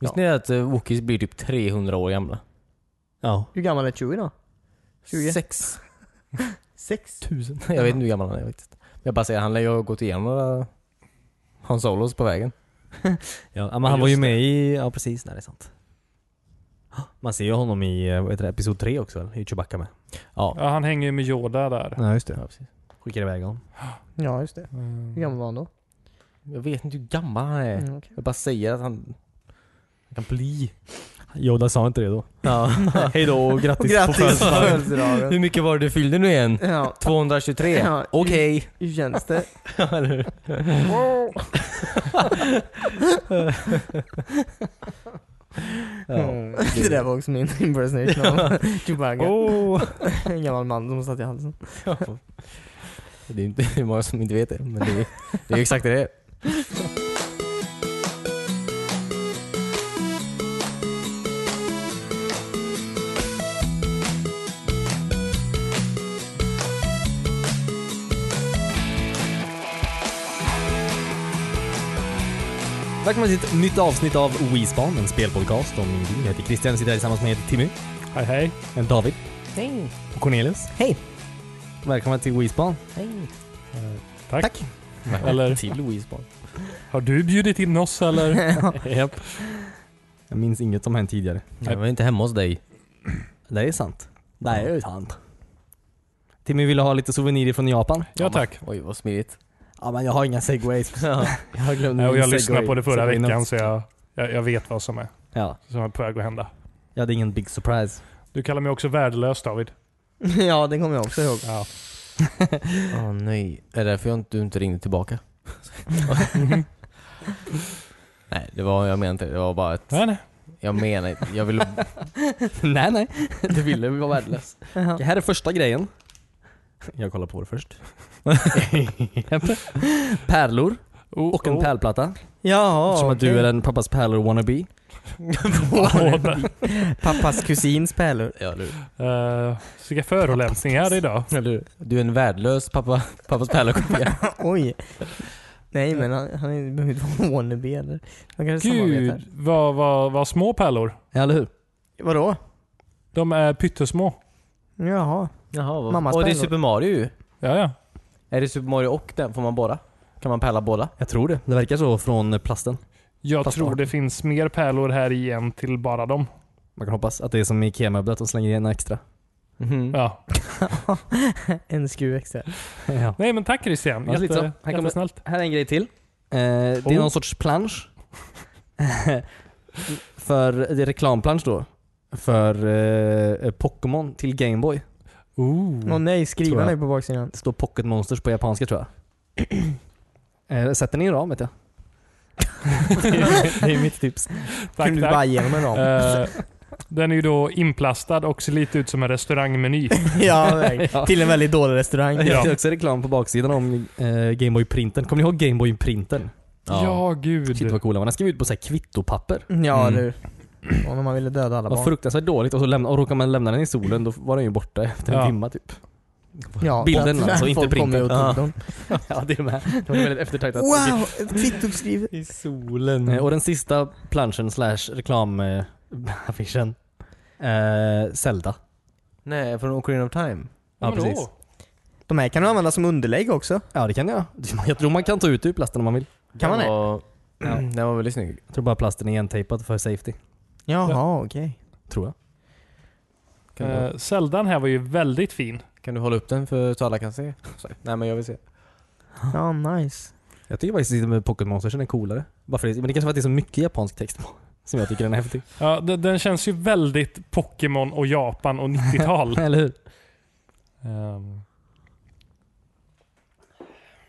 Visste ni att eh, Wookiees blir typ 300 år gamla? Ja. Hur gammal är Chewie då? 20? 6 Sex? 000. Jag vet inte hur gammal han är faktiskt. Men jag bara säger, han lär ju ha gått igenom några Han Solos på vägen. Ja, men han Just var ju det. med i, ja precis, nej det är sant. Man ser ju honom i, eh, vad heter det, episod 3 också väl? I Chewbacca med. Ja. Ja, han hänger ju med Yoda där. Ja, just det. ja precis. Skickar iväg honom. Ja, just det. Mm. Mm. Hur gammal var han då? Jag vet inte hur gammal han är. Mm, okej. Jag bara säger att han, han kan bli. Yoda sa inte det då. Ja. Hej då och Och grattis, på grattis på födelsedagen. födelsedagen! hur mycket var det du fyllde nu igen? Ja, 223? Ja. Okej. hur känns det? Ja. det där var också min impersonation av Chewbacca. Oh. En gammal man som satt i halsen. Det är inte det är många som inte vet det, men det är, det är exakt det det är. Välkommen till ett nytt avsnitt av WeSpan, en spelpodcast om ingenting. Jag heter Christian och sitter här tillsammans med Timmy, Hej hej. Eh, David Hej, och Cornelius. Hej. Välkomna till WeSpan. hej. Tack. Tack. Eller- Till Louisebad. Har du bjudit in oss Mm. eller? Japp. Jag minns inget som hänt tidigare. Jag var inte hemma hos dig. Det är sant. Det är ju sant. Timmy ville ha lite souvenirer från Japan. Ja tack. Oj, vad smidigt. Ja men jag har inga segways. Jag har glömt Nej, och min jag segway. lyssnade på det förra Segway veckan notes. så jag, jag, jag vet vad som är, Ja, som är på väg att hända. jag hade ingen big surprise. Du kallar mig också värdelös David. ja, den kommer jag också ihåg. Ja. Åh nej. Är det därför jag inte, du inte ringde tillbaka? nej, det var, jag menar inte det. Det var bara ett... Nej, nej. Jag menar inte. Jag ville... nej nej. Du ville vara värdelös. Det här är första grejen. Jag kollar på det först. Pärlor Oh, och en oh. pärlplatta. Jaha, Som att du okej. är en pappas pärlor wannabe. Pappas kusins pärlor. Ja, du. Eh, Vilka förolämpningar idag. Eller, du är en värdelös pappa, pappas pärlkopia. Oj. Nej men han, han är- behöver inte vara wannabe eller? Han kanske samarbetar. Gud, vad, vad, vad små pärlor. Ja, eller hur? Vadå? De är pyttesmå. Jaha. Jaha, vad... Mammas Och det är pärlor. Super Mario ju. Ja, ja. Är det Super Mario och den? Får man båda? Kan man pärla båda? Jag tror det. Det verkar så från eh, plasten. Jag Fast tror arten. det finns mer pärlor här igen till bara dem. Man kan hoppas att det är som i Ikea-möbler, att de slänger in extra. Mhm. Ja. En skruv extra. Ja. Nej men tack Christian. Ja, lite så. Jätte, Här kommer- jättesnällt. Här är en grej till. Eh, det är Oh. någon sorts plansch. för, det är reklamplansch då. För eh, Pokémon till Gameboy. Ooh. Åh nej, Tror skriva jag. nej på baksidan. Det står Pocket Monsters på japanska tror jag. eh, sätt den i en ram vet jag. det är mitt tips. Tack, Kunde du tack. bara ge honom en ram? Eh, den är ju då inplastad och ser lite ut som en restaurangmeny. ja, verkligen. Ja. Till en väldigt dålig restaurang. Jag ser också reklam på baksidan om eh, Gameboy-printen. Kommer ni ihåg Gameboy-printen? Ja, gud. Shit vad cool den var. Den skrev ut på så här kvittopapper. Ja Mm. du. Och om man ville döda alla Det var barn. fruktansvärt dåligt och, så lämna, och råkade man lämna den i solen då var den ju borta efter en Ja. timma typ. Ja, bilden folk- alltså, inte folk kom printen. ju och tog Ja. dem. Ja det är med. Det var väldigt eftertraktat. Wow! Ett kvittuppskrivet. I solen. Eh, Och den sista planschen slash reklamaffischen. Eh, Zelda. Nej, från Ocarina of Time. Ja, men då. precis. De här kan du använda som underlägg också. Ja det kan jag. Jag tror man kan ta ut det ur plasten om man vill. Kan man det? det? Den var väldigt snygg. Jag tror bara plasten är igentejpad för safety. Jaha, okej. Tror jag. Kan, du, Eh, Zeldan här var ju väldigt fin. kan du hålla upp den för, så alla kan se? Så, Nej men jag vill se. Ja, nice. Jag tycker faktiskt att med Pocket Monstersen är coolare. Bara för det, men det kanske för att det är så mycket japansk text på. Som jag tycker den är häftig. Ja, den, den känns ju väldigt Pokémon och Japan och 90-tal. Eller hur? Ehm,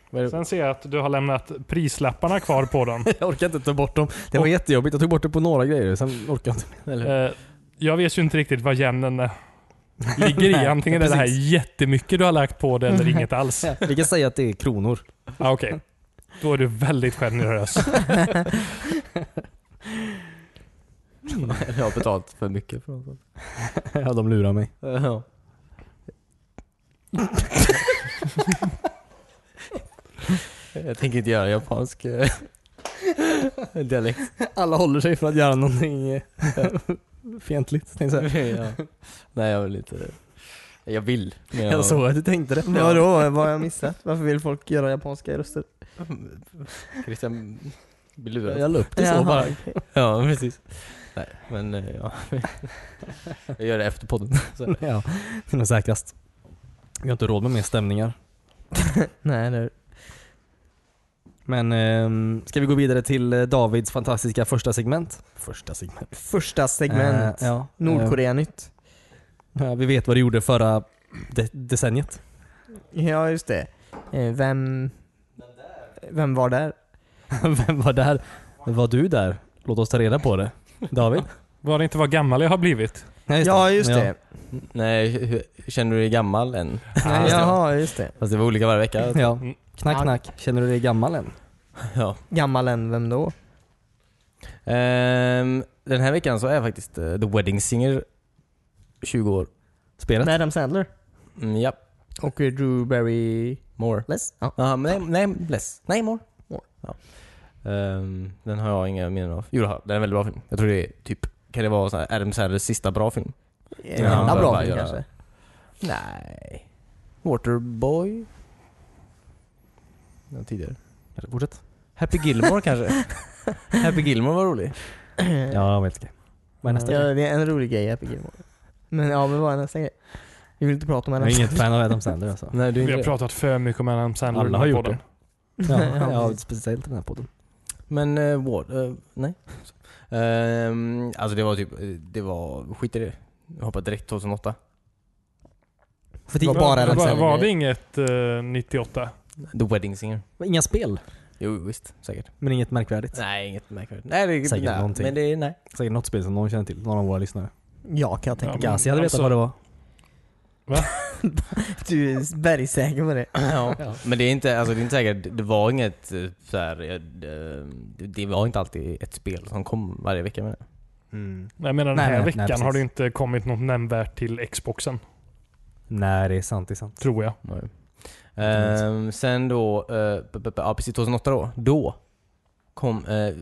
Vad är det? sen ser jag att du har lämnat prislapparna kvar på dem. Jag orkar inte ta bort dem. Det var jättejobbigt. Jag tog bort det på några grejer. Sen orkar jag inte mer. Eller hur? Eh, jag vet ju inte riktigt vad genen eh, ligger i. Nej, Antingen är det här precis. jättemycket du har lagt på det eller inget alls. Ja, Vi kan säga att det är kronor. Ah, Okej. Då är du väldigt generös. jag har betalt för mycket för något. Ja, de lurar mig. Ja. jag tänker inte göra japansk... eh, Dialekt. Alla håller sig för att göra någonting eh, fientligt, tänkte jag säga. ja. Nej, jag vill inte. Jag vill. men Jag såg att du tänkte det. Vadå? Vad har jag missat? Varför vill folk göra japanska röster? Christian blir Jag lurad. jag la upp det så Jaha, bara. okej. Ja, precis. Nej, men eh, ja. Jag gör det efter podden. Så. Ja, det är nog säkrast. Vi har inte råd med mer stämningar. Nej, det Men ehm, ska vi gå vidare till eh, Davids fantastiska första segment? Första segment? Första segment. Eh, ja. Nordkorea-nytt. Eh, ja, vi vet vad du gjorde förra de- decenniet. Ja, just det. Eh, Vem... Vem var där? Vem var där? Var du där? Låt oss ta reda på det. David? Var det inte vad gammal jag har blivit? Nej, ja, just det. Nej, hur- känner du dig gammal än? Ah, Nej, Jaha, just det. Fast det var olika varje vecka. Ja. Mm. Knack, knack. Känner du dig gammal än? Ja. Gammal än vem då? Ehm, den här veckan så är faktiskt eh, The Wedding Singer 20 år. Spelet? Adam Sandler. Mm, ja. Och eh, Drew Barry... More. Less? Ja. Ja, men nej, nej, less. Nej, more. More. Ja. Ehm, den har jag inga minnen av. Jo, det har jag. den är en väldigt bra film. Jag tror det är typ, kan det vara så här Adam Sandlers sista bra film? En Ja, enda bra bara film göra- kanske? Nej. Waterboy? Ja, tidigare. Eller Fortsätt. Happy Gilmore kanske? Happy Gilmore var rolig. Ja, jag vet inte. Vad är nästa? Ja, det är en rolig grej i Happy Gilmore. Men ja, men vad är nästa grej? Vi vill inte prata om Jag är Adam Sandler. inget fan av Adam Sandler alltså. Nej, du är Vi inte har det. pratat för mycket om Adam Sandler Alla i den har här gjort podden. Ja, Ja, ja, precis. speciellt den här podden. Men uh, Ward, eh, nej. Ehm, alltså det var typ, eh, det var, skit i det. Jag hoppade direkt 2008. För Det var bara Adam var, Sandler. var det inget eh, 98? The Wedding Singer. Inga spel, Jo visst, säkert. men inget märkvärdigt. Nej, inget märkvärdigt. Nej, det Säkert nej, någonting. Men det är nej. Säkert något spel som någon känner till, någon av våra lyssnare. Ja, kan jag tänka mig. Ja, Gazi hade vetat alltså- vad det var. Du är bergsäker på det. ja. Men det är inte, alltså det är inte säkert, det var inget eh, så här, eh, det, det var inte alltid ett spel som kom varje vecka med det. Nej, men den Nej, här nej, veckan nej, precis. har det inte kommit något nämnvärt till Xboxen, Nej, det är sant, det är sant. tror jag. Nej. Ehm, sen då, eh, b- b- b- ja precis 2008 då, då kom eh,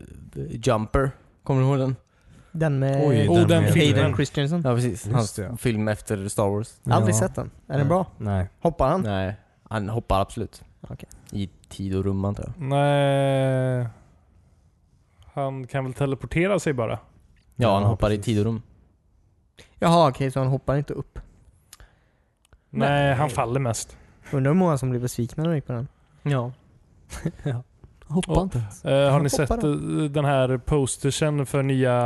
Jumper, kommer du ihåg den? Den med Oj, Oh, den med- filmen. Hayden Christensen. Ja precis, Just hans det. film efter Star Wars. Aldrig Ja. sett den. Är den bra? Nej. Hoppar han? Nej, han hoppar absolut. Okej. I tid och rum antar jag. Nej. Han kan väl teleportera sig bara? Ja, han Ja, hoppar precis. i tid och rum. Jaha okej, så han hoppar inte upp. Nej, han faller mest. Undrar hur många som blev besvikna när de gick på den. Ja. Hoppa Och- inte. Eh, har Hoppar ni sett då. eh, den här postersen för nya...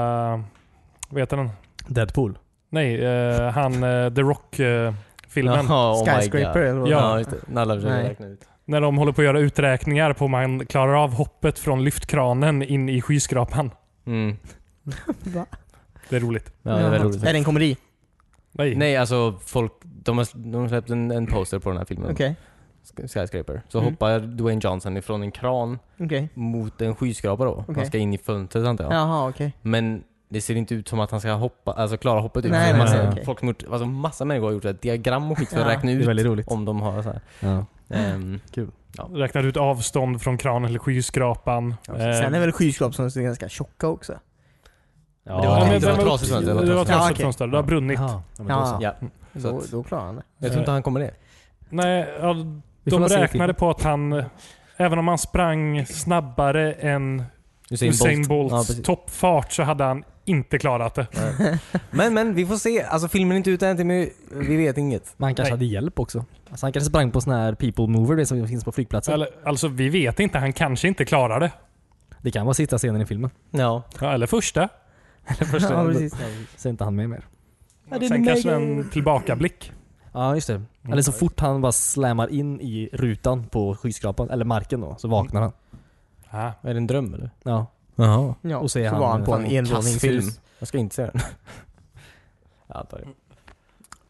Vad heter den? Deadpool. Nej, eh, han eh, The Rock-filmen. Jaha, oh my Skyscraper God. eller vad det var. Ja, just det. Alla försöker Nej. räkna ut. När de håller på att göra uträkningar på om man klarar av hoppet från lyftkranen in i skyskrapan. Mm. Va? Det är roligt. Ja, det är väldigt roligt. Är det en komedi? Nej. Nej, alltså folk, de har, de har släppt en, en poster på den här filmen. Okej. Sk- Skyscraper. Så Mm. hoppar Dwayne Johnson ifrån en kran Okej. mot en skyskrapa då. Han Okej. ska in i fönstret antar jag. Jaha okej. Men det ser inte ut som att han ska hoppa, alltså klara hoppet. ut. Nej, Det är nej, massa, nej, okej. folk som gjort, alltså massa människor har gjort ett diagram och skit för Ja. att räkna Det är ut väldigt roligt. om de har så här. Ja. Ehm, Räknar ut avstånd från kranen eller skyskrapan. Ja, Eh, Sen är väl skyskraporna som är ganska tjocka också? det var- ja, det men var den trasigt fönster, det var Det var trasigt. Ja, trasigt okej. fönster. Det har brunnit. Jaha. Ja, men då Ja. så. ja. Så Då, att, då klarar han det. jag tror inte han kommer det. Nej, ja, Vi får de väl se räknade filmen. på att han, eh, även om han sprang snabbare än Usain, Usain Bolt. Ja, Bolts precis. toppfart så hade han inte klarat det. men men vi får se. Alltså filmen är inte ute än Timmy. Vi vet inget. Men han kanske Nej. hade hjälp också. Alltså han kanske sprang på sån här people mover, det som finns på flygplatser. Eller, alltså vi vet inte, han kanske inte klarar det. Det kan vara sista scenen i filmen. Ja. Ja, eller första. Ja, precis. Så är inte han med mer. Ja, det är Sen Megan. kanske en tillbakablick. Ja, just det. Mm. Eller så fort han bara slammar in i rutan på skyskrapan, eller marken då, så vaknar han. Ja. Är det en dröm eller? Ja. Jaha. Ja, Och och så så, är han- var han på en han Fan, kassfilm. envåningshus. Jag ska inte se den. Jag antar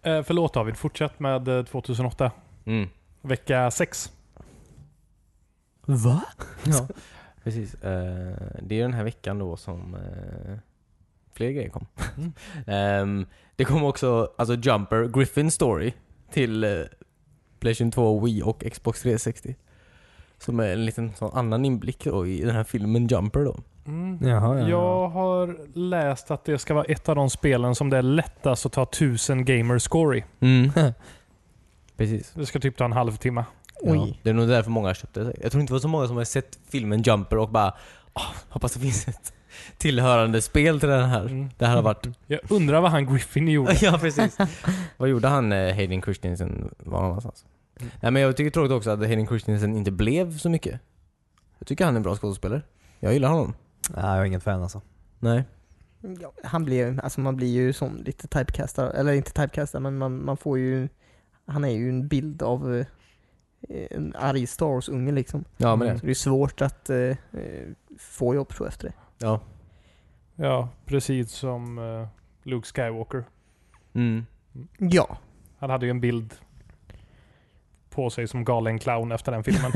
det. Eh, förlåt David, fortsätt med eh, 2008. Mm. Vecka 6. Va? Ja, precis. Eh, det är den här veckan då som eh, fler grejer kom. Ehm, det kom också alltså Jumper, Griffin Story till eh, Playstation 2, Wii och Xbox 360. Som är en liten sån annan inblick då, i den här filmen Jumper då. Mm. Jaha, ja, ja. Jag har läst att det ska vara ett av de spelen som det är lättast att ta 1000 gamerscore i. Precis. Det ska typ ta en halvtimme. Ja, Oj. det är nog därför många köpte det. Jag tror inte det var så många som har sett filmen Jumper och bara "Ah, hoppas det finns ett tillhörande spel till den här. Mm. Det här har varit... Jag undrar vad han Griffin gjorde. ja, precis. Vad gjorde han, eh, Hayden Christensen, var han någonstans? Nej men jag tycker tråkigt också att Hayden Christensen inte blev så mycket. Jag tycker han är en bra skådespelare. Jag gillar honom. Nej, jag är inget fan alltså. Nej. Ja, han blir, alltså man blir ju som lite typecastad, eller inte typecastad men man, man får ju, han är ju en bild av eh, en arg Star Wars-unge liksom. Ja men det. Så det är svårt att eh, eh, få jobb så efter det. Ja. Ja, precis som eh, Luke Skywalker. Mm. Ja. Han hade ju en bild på sig som galen clown efter den filmen.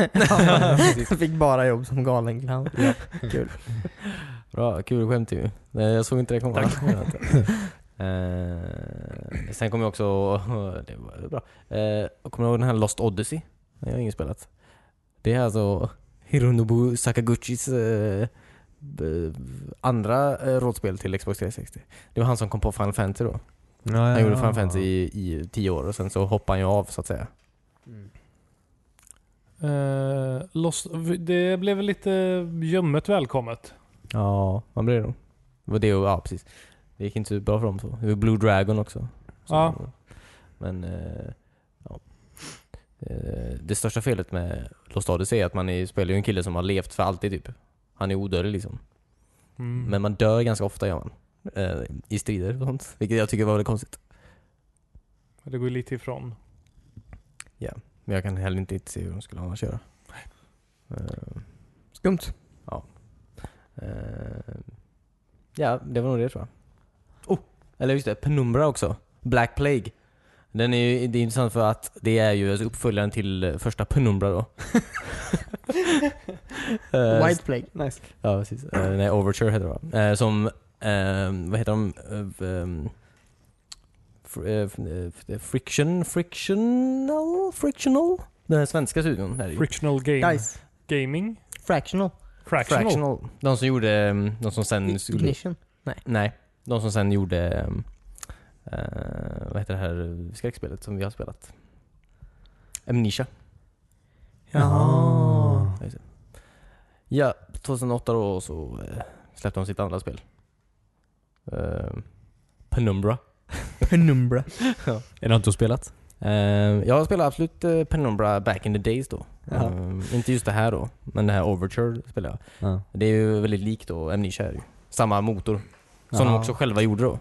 Han fick bara jobb som galen clown. Kul. Bra, kul skämt ju. Nej, jag såg inte det komma. Tack. Eh, sen kom jag också, det var bra. Eh, och kommer du ihåg den här Lost Odyssey? Den har jag ingen spelat. Det är alltså Hironobu Sakaguchis eh, b- andra eh, rollspel till Xbox 360. Det var han som kom på Final Fantasy då. Ja, Han gjorde Final Fantasy i, i tio år och sen så hoppade han ju av så att säga. Eh, Lost, det blev lite ljummet välkommet. Ja, man blir det nog. Det var det och, ja precis. Det gick inte så bra för dem så. Det var Blue Dragon också. Så, Ja. Men, eh, ja. Eh, Det största felet med Lost Odyssey är att man är, spelar ju en kille som har levt för alltid typ. Han är odödlig liksom. Mm. Men man dör ganska ofta gör man. Eh, I strider och sånt. Vilket jag tycker var väldigt konstigt. Det går ju lite ifrån. Men jag kan heller inte riktigt se hur de skulle annars göra. Eh, Skumt. eh, Ja, det var nog det tror jag. Oh! Eller just det, Penumbra också. Black Plague. Den är ju, det är intressant för att det är ju alltså uppföljaren till eh, första Penumbra då. Eh, White Plague. Nice. Ja, precis. Eh, nej, Overture heter det va? Eh, som, eh, vad heter de? Eh, ehm, fr- eh, f- eh, f- eh, friction, frictional, frictional? Den här svenska studion. Här är ju. Frictional game. Dice. Gaming? Fractional. Fractional? Fractional. De som gjorde, ehm, de som sen skulle, Ignition. nej, de som sen gjorde, ehm, eh, vad heter det här skräckspelet som vi har spelat? Amnesia. Jaha. Ja, 2008 då så eh, släppte de sitt andra spel. Eh, Penumbra. Penumbra. Är det något du har spelat? Eh, jag spelar absolut eh, Penumbra back in the days då. Ja. Eh, inte just det här då, men det här Overture spelar jag. Ja. Det är ju väldigt likt då, Amnesia är ju. Samma motor. Som de Jaha. också själva gjorde då.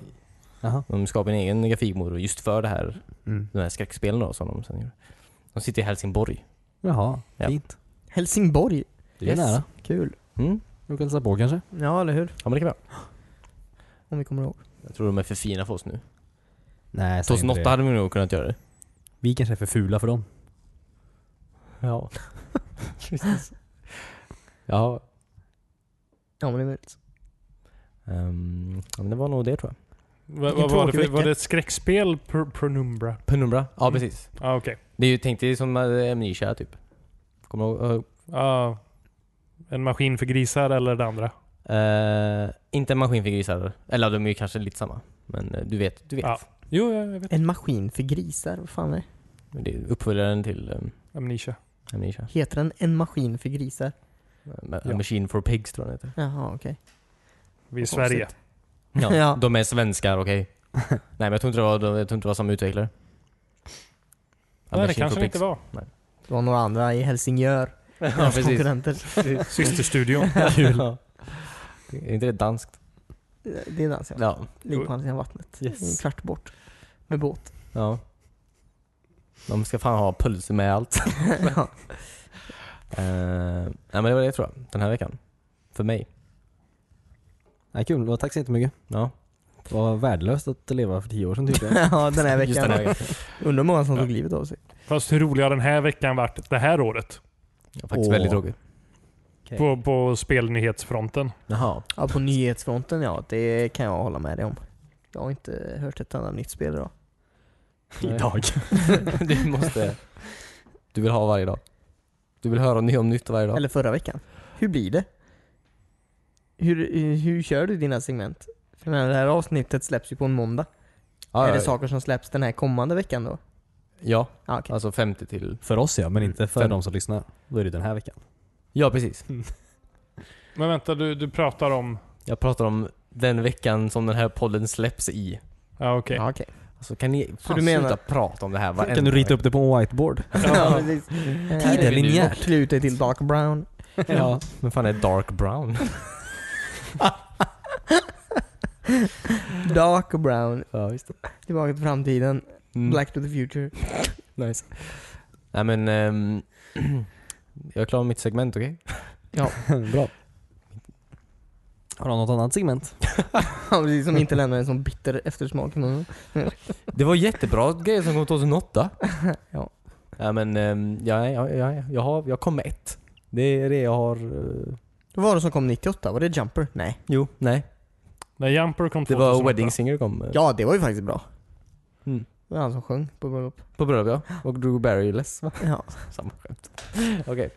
Jaha. De skapade en egen grafikmotor just för det här, Mm. de här skräckspelen då som de sen gjorde. De sitter i Helsingborg. Jaha, Ja. fint. Helsingborg. Det är Yes. nära. Kul. Mm. Du kan hälsa på kanske? Ja, eller hur? Ja men det kan vi ha. Om vi kommer ihåg. Jag tror de är för fina för oss nu. Nej, 2008 hade vi nog kunnat göra det. Vi kanske är för fula för dem. Ja. ja. Ja, men det är möjligt. ehm, ja men det var nog det tror jag. Vad- Vilken vad var, det tråkig för, var vecka. det ett skräckspel? Pr- Pronumbra? Penumbra? Ja Mm. precis. Ja, ah, okej. Det är ju, tänk dig som eh, Amnesia typ. Kommer du ihåg? Ah, en maskin för grisar eller det andra? Eh, inte en maskin för grisar. Eller de är ju kanske lite samma. Men eh, du vet, du vet. Ja. Jo, jag jag vet. En maskin för grisar, vad fan är det? Men Det är uppföljaren till um, Amnesia. Amnesia. Heter den en maskin för grisar? A Ja. Eh, Machine for Pigs tror jag den heter. Jaha, okej. Vi i Konstigt. Sverige. Ja, Ja. De är svenskar, okej. Nej men jag tror inte det var, de- jag tror inte det var samma utvecklare. A Nej, det Machine for kanske det Pigs. inte var. Det var några andra i Helsingör. ja precis. Konkurrenter. Systerstudion. Ja. Är inte det danskt? Det är dans, ja. Ja. Ligger på andra sidan vattnet. Yes. En kvart bort. Med båt. ja. De ska fan ha pulser med allt. ja. Eh, nej men det var det tror jag, den här veckan. För mig. Nej, kul. Vad- Tack så jättemycket. Ja. Vad värdelöst att leva för tio år sedan tyckte jag. ja, den här Just den här veckan. veckan. Undrar hur många som Ja. tog livet av sig. Fast hur rolig har den här veckan varit det här året? Ja, faktiskt Åh. väldigt tråkigt. På, på spelnyhetsfronten. Jaha. Ja, på nyhetsfronten ja. Det kan jag hålla med dig om. Jag har inte hört ett annat nytt spel idag. Idag. du måste... Du vill ha varje dag. Du vill höra ny om nytt varje dag. Eller förra veckan. Hur blir det? Hur, hur kör du dina segment? För jag menar, det här avsnittet släpps ju på en måndag. ja, är ja, det saker som släpps den här kommande veckan då? ja, Ja, okej. alltså 50 till... För oss ja, men inte för För- de som lyssnar. Då är det den här veckan. Ja, precis. Mm. Men vänta, du, du pratar om... Jag pratar om den veckan som den här podden släpps i. Ja, okej. Ja, okej. Alltså kan ni Så fan, du menar- sluta prata om det här varenda Kan du rita vecka? upp det på en whiteboard? Ja, precis. Tiden Här är vi nu. linjärt. Och Klä ut dig till dark brown. ja. Men fan är dark brown? Dark brown. ja, visst. Tillbaka till framtiden. Mm. Black to the future. Nice. Nej men... ehm, jag klarar mitt segment, okej? Bra. Har du något annat segment? Ja, precis, som inte lämnar en sån bitter eftersmak i munnen. Det var jättebra grejer som kom 2008. Ja. Nej men, ehm, ja, ja, ja, ja, jag, har, jag kom med ett. Det är det jag har... eh, Vad var det som kom 98? Var det Jumper? Nej. jo, nej. När Jumper kom Det var 2008. Wedding Singer kom. eh, Ja, det var ju faktiskt bra. Mm. Det var han som sjöng på bröllop. På bröllop ja. Och Drew Barryless va? Ja. Samma skämt. Okej.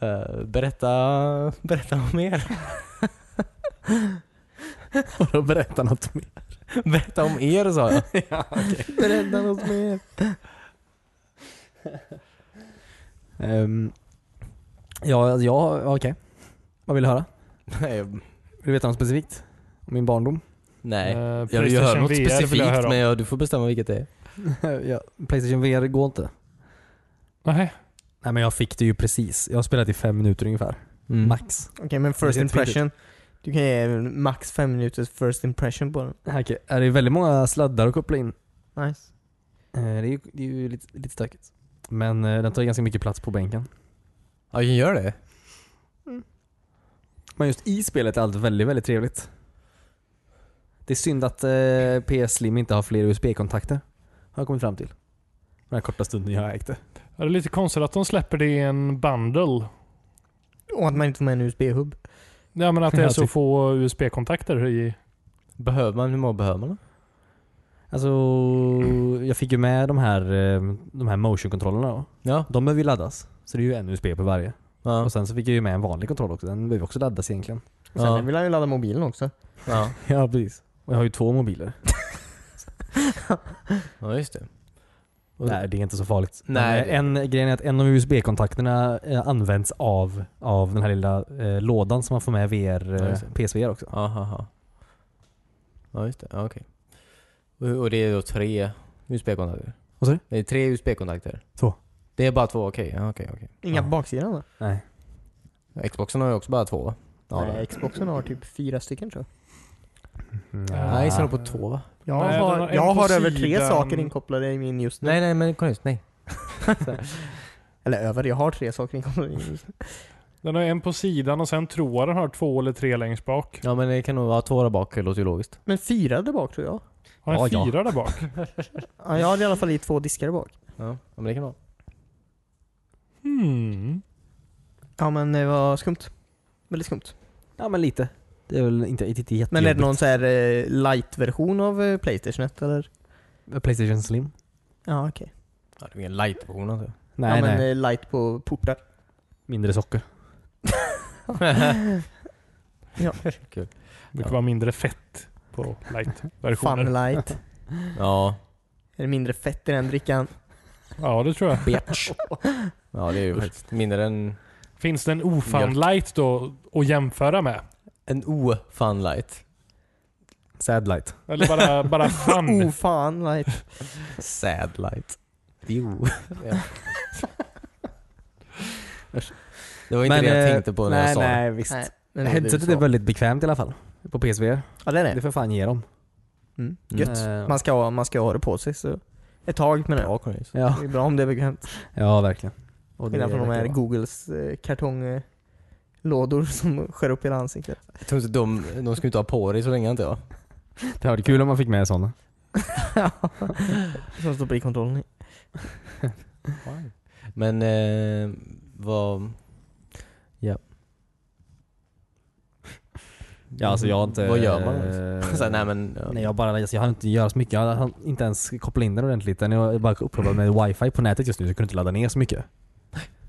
Eh, berätta, berätta om er. Bara berätta något mer. berätta om er sa jag. Berätta något mer. Ehm, ja, alltså, ja okej. Vad vill du höra? nej, Vill du veta något specifikt? Om min barndom? nej. Eh, jag vill ju höra något Playstation VR vill jag specifikt höra om. men jag, du får bestämma vilket det är. ja, Playstation VR går inte. Nej. Nej men jag fick det ju precis. Jag har spelat i fem minuter ungefär. Mm. Max. Okej, men Det first ser inte fint impression. Du kan ge max fem minuters first impression på den. Okej, är det är väldigt många sladdar att koppla in. Nice. Eh, Det är ju, det är ju lite, lite stökigt. Men eh, den tar ju ganska mycket plats på bänken. Ja, jag gör det. Men just i spelet är allt väldigt, väldigt trevligt. Det är synd att eh, PS Slim inte har fler USB-kontakter. Har jag kommit fram till. Den här korta stunden jag ägde. Är det lite konstigt att de släpper det i en bundle? Och att man inte får med en USB-hub. Ja, men att det är Ja, så typ. få USB-kontakter i... Behöver man, hur många behöver man då? Alltså, jag fick ju med de här, eh, de här motion-kontrollerna då. Ja. De behöver ju laddas. Så det är ju en USB på varje. Ja. Och sen så fick jag ju med en vanlig kontroll också. Den behöver också laddas egentligen. Och Sen Ja. vill han ju ladda mobilen också. Ja. Ja, precis. Och jag har ju två mobiler. ja, just det. Och- Nej, det är inte så farligt. Nej, Men, eh, en grej är att en av USB-kontakterna eh, används av, av den här lilla eh, lådan som man får med VR, Ja, eh, just det. PSVR också. Aha, aha. Ja, just det. Ja, okej. Och, och det är då tre USB-kontakter? Vad sa du? Det är tre USB-kontakter? Två. Det är bara två, okej. Ja, okej, okej. Inga Ja. på baksidan va? Nej. Xboxen har ju också bara två va? Ja, Nej, Xboxen har typ fyra stycken tror jag. Nej, så de på två va? Jag Nej, den har, har en jag på har över tre sidan. saker inkopplade i min just nu. Nej, nej, men kom just, nej. Eller över, jag har tre saker inkopplade i min just nu. Den har en på sidan och sen tror jag den har två eller tre längst bak. Ja, men det kan nog vara två där bak, det låter ju logiskt. Men fyra där bak tror jag. Har den Ja, ja. fyra där bak? Ja, jag hade i alla fall i två diskar där bak. Ja, ja, men det kan vara. Hmm. Mm. Ja men det var skumt. Väldigt skumt. Ja, men lite. Det är väl inte, inte, inte Men jättejobbigt. är det någon så här eh, light-version av eh, Playstation 1 eller? Playstation Slim? Ja okej. Ja, det är en light-version alltså. Nej, ja, men nej. eh, light på portar. Mindre socker. Det brukar vara mindre fett på light-versioner. Fun light. är Ja, det mindre fett i den drickan? Ja, det tror jag. bitch. ja, det är ju faktiskt mindre än Finns det en ofun light då att jämföra med? en o-fun light. Sad light. Eller bara, bara Oh fun? fan light. Sad light. Jo. ja. Det var inte Men, det jag eh, tänkte på när nej, jag sa det. nej, visst. Nej, men det är Headsetet är väl så. väldigt bekvämt i alla fall. På PSVR. Ja det är Det det. får fan ge dem. Mm. Mm. Gött. Eh, Man ska, ha, man ska ha det på sig så ett tag med det. Bra Cornelius. Ja, Det är bra om det är bekvämt. ja verkligen. Och det Skillnad från de verkar här vara. Googles eh, kartonglådor som skär upp hela ansiktet. Jag tror inte de, de ska inte ha på dig så länge inte jag. Det hade varit kul om man fick med sådana. som stoppar i kontrollen i. Men eh, vad... Ja, alltså jag har inte... Vad gör man? eh, Så här, nej men... Ja. Nej jag bara, alltså, jag hann inte göra så mycket. Jag hann inte ens koppla in den ordentligt. Den är bara uppkopplad med wifi på nätet just nu så jag kunde inte ladda ner så mycket.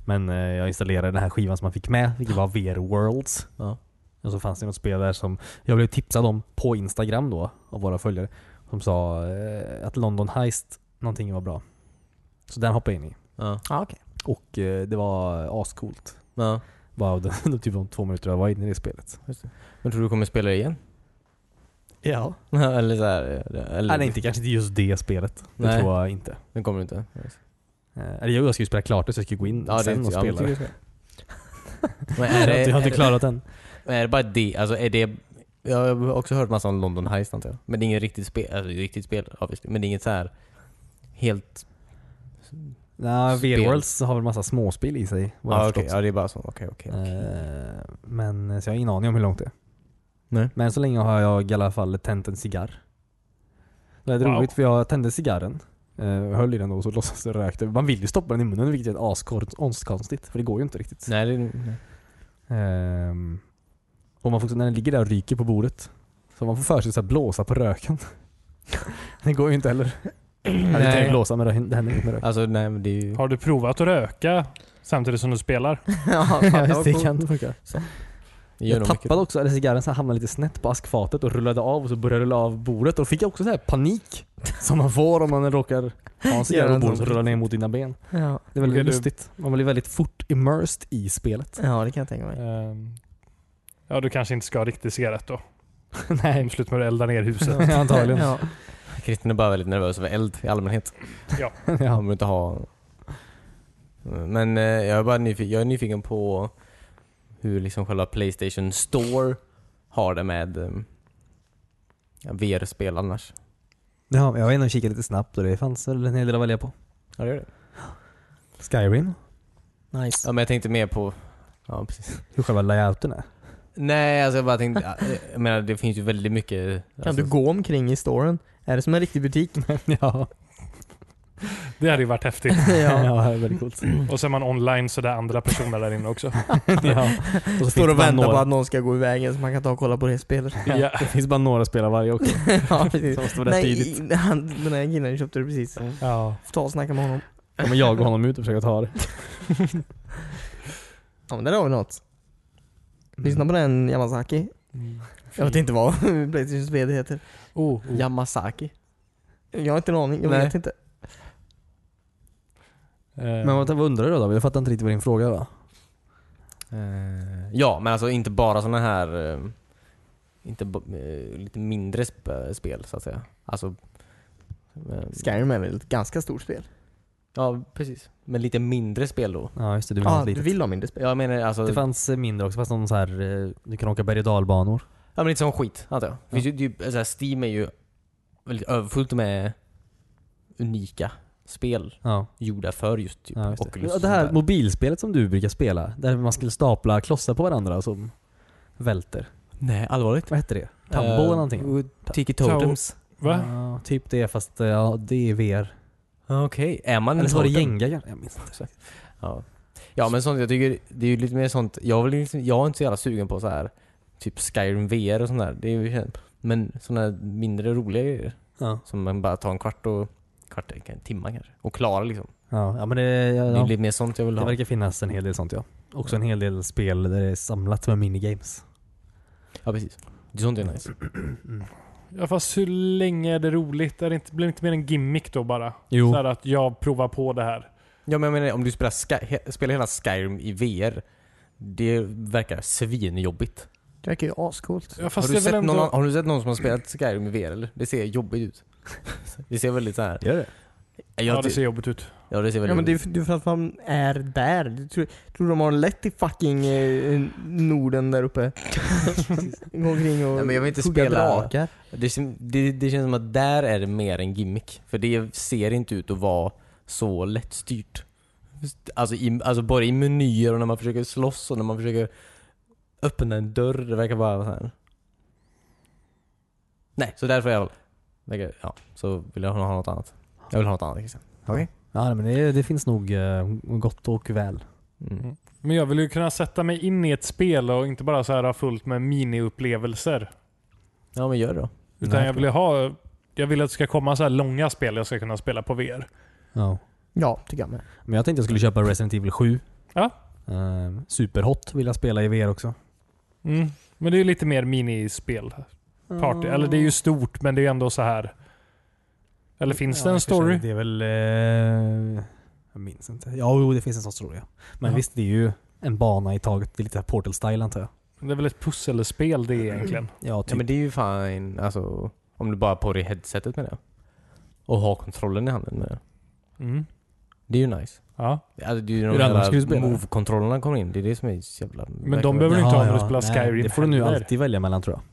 Men eh, jag installerade den här skivan som man fick med, vilket var VR Worlds. Ja. Och så fanns det något spel där som jag blev tipsad om på Instagram då, av våra följare. Som sa eh, att London Heist någonting var bra. Så den hoppade jag in i. Ja. Ja, okej. Och eh, det var ascoolt. ja. Bara de, typ de två minuter jag var inne i det spelet. Men tror du kommer spela det igen? Ja. eller så här, eh, eller, Nej, det är inte, kanske inte just det spelet. Det Nej. tror jag inte. Den kommer inte. Eh, Eller jo, jag ska ju spela klart det så jag ska gå in Ja, det sen är- och ja, spela men det. tycker Men är det, jag har är, inte det- klarat den. är det bara det? Alltså är det... Jag har också hört massa om London Heist antar jag. Men det är inget riktigt spel, alltså det är ett riktigt spel obviously. Men det är inget så här helt... Nej, Spel. V-Worlds har väl massa småspel i sig. vad Ja jag har Ah, okej, förstått. ja det är bara så. Okej okej. Eh, Men eh, så jag har ingen aning om hur långt det är. Nej. Men så länge har jag i alla fall tänt en cigarr. Det är Wow. roligt för jag tände cigarren. eh, och höll i den då och så låtsas det rökte. Man vill ju stoppa den i munnen vilket är askonstigt. För det går ju inte riktigt. Nej, det, nej. Ehm, och man får, också- när den ligger där och ryker på bordet. Så man får för sig att så här blåsa på röken. det går ju inte heller. Jag hade Nej. tänkt blåsa med röken. Det händer inget med röken. Alltså nej men det är ju... Har du provat att röka samtidigt som du spelar? ja, fan, Ja, det just var det coolt. kan funka. det gör Jag nog mycket. tappade också, eller cigarren så här hamnade lite snett på askfatet och rullade av och så började rulla av bordet. Och då fick jag också så här panik. Som man får om man råkar ha en cigarr Göra på en bordet sån. som rullar ner mot dina ben. Ja. Det är väldigt Blev du- lustigt. Man blir väldigt fort immersed i spelet. ja, det kan jag tänka mig. Ehm, Ja, du kanske inte ska ha riktig cigarett då. Nej, Om slut med att elda ner huset. antagligen. Ja. Kristin är bara väldigt nervös över eld i allmänhet. ja. Han vill inte ha... Men eh, jag är bara nyfiken, jag är nyfiken på hur liksom själva Playstation Store har det med eh, VR-spel annars. ja, jag var inne och kikade lite snabbt och det fanns väl en hel del att välja på. Ja, det gör det. Skyrim. Nice. Ja, men jag tänkte mer på... Ja, precis. Hur själva layouten är. Nej, alltså jag bara tänkte... ja, eh, Jag menar, det finns ju väldigt mycket... Kan alltså, du gå omkring i storen? Är det som en riktig butik? ja. Det hade ju varit häftigt. Ja. ja, det är väldigt coolt. Och så är man online så det är andra personer där inne också. ja. och Står så finns och bara väntar på några- att någon ska gå i vägen så man kan ta och kolla på det spelet. Ja. Det finns bara några spelare varje också. ja, precis. Så måste vara rätt tidigt. Nej, han, den här killen köpte det precis. Ja. Får ta och snacka med honom. Ja, men jag och honom ut och försöker ta det. Ja men där har vi något. Mm. Lyssna på den Yamazaki. Jag vet inte vad Playstations VD heter. Oh, oh. Yamasaki? Jag har inte en aning, jag Nej. vet inte. Ehm, Men vad vad undrar du då David? Jag fattar inte riktigt vad din fråga var. Eh, ja, men alltså inte bara såna här... eh, Inte b- eh, lite mindre sp- spel så att säga. Alltså... eh, Skyrim är väl ett ganska stort spel? Ja, precis. Men lite mindre spel då. Ja just det, du Ja, ah, du vill ha mindre spel? Jag menar alltså... Det fanns eh, mindre också, fast någon så här, eh, du kan åka berg och dalbanor. Ja men lite sån skit, antar jag. Finns ju, det är ju, alltså, här, Steam är ju väldigt överfullt med unika spel Ja, gjorda för just typ ja just det. Oculus. Ja, och det sånt här där. mobilspelet som du brukar spela, där man skulle stapla klossar på varandra som välter. Nej, allvarligt. Vad hette det? Tambo eller någonting? Uh, Tiki Totems. Va? Ja, typ det fast eh, ja, det är VR. Okej, är man Eller så var det totem? Jenga kanske? Jag minns inte. Ja. ja men sånt, jag tycker det är ju lite mer sånt. Jag, vill liksom, jag är inte så jävla sugen på så här typ Skyrim VR och sånt där. Det är ju, men såna här mindre roliga grejer Ja. som man bara tar en kvart och kvart, en timme kanske och klarar liksom. Ja, ja men det, ja, Det är ja. lite mer sånt jag vill det ha. verkar finnas en hel del sånt ja. Också en hel del spel där det är samlat med minigames. Ja precis. Det är sånt är nice. Ja, fast hur länge är det roligt? Är det inte, blir det inte mer en gimmick då bara? Jo. Så här att jag provar på det här. Ja men jag menar om du spelar, Sky, he, spelar hela Skyrim i VR Det verkar svinjobbigt. Det verkar ju ascoolt. Ja, Har fast du, det är sett väl någon, ändå... har du sett någon som har spelat Skyrim i VR eller? Det ser jobbigt ut. det ser väldigt såhär... Gör det? Ja, det ser jobbigt ut. ja det ser väldigt Ja men det jobbigt ut. är, det är för att man är där. Du tror, tror de har det lätt i fucking eh, Norden där uppe? Gå omkring och Nej, men jag vill inte hugga spela- drakar. Det, kän- det, det känns som att där är det mer en gimmick. För det ser inte ut att vara så lättstyrt. Alltså, i, alltså både i menyer och när man försöker slåss och när man försöker öppna en dörr. Det verkar bara vara så här. Nej, så därför jag verkar, ja, så vill jag ha något annat. Jag vill ha något annat Christian. Ja men det, det finns nog eh, gott och väl. Mm. Men jag vill ju kunna sätta mig in i ett spel och inte bara så här ha fullt med miniupplevelser. Ja men gör det då. Utan Nej. jag vill ju ha... Jag vill att det ska komma så här långa spel jag ska kunna spela på VR. Ja. Ja, tycker jag med. Men jag tänkte jag skulle köpa Resident Evil 7 Ja. Ehm, superhot vill jag spela i VR också. Mm. Men det är ju lite mer minispel. Party. Eller det är ju stort, men det är ju ändå så här. Eller finns Ja, det i en och för sig, story? Det är väl... Eh, jag minns inte. Ja, jo, det finns en sån story. Ja. Men Ja. visst, det är ju en bana i taget. Det är lite Portal-style antar jag. Det är väl ett pusselspel det egentligen. Ja, typ. Ja men det är ju fine, alltså om du bara har på dig headsetet med det. Och har kontrollen i handen med det. Mm. Det är ju nice. Ja. Alltså, det är ju Hur de annars skulle du jävla spela? move-kontrollerna kommer in. Det är det som är så jävla... Men de behöver du inte ha när du spelar nej, Skyrim Det får du nu heller. alltid välja mellan tror jag.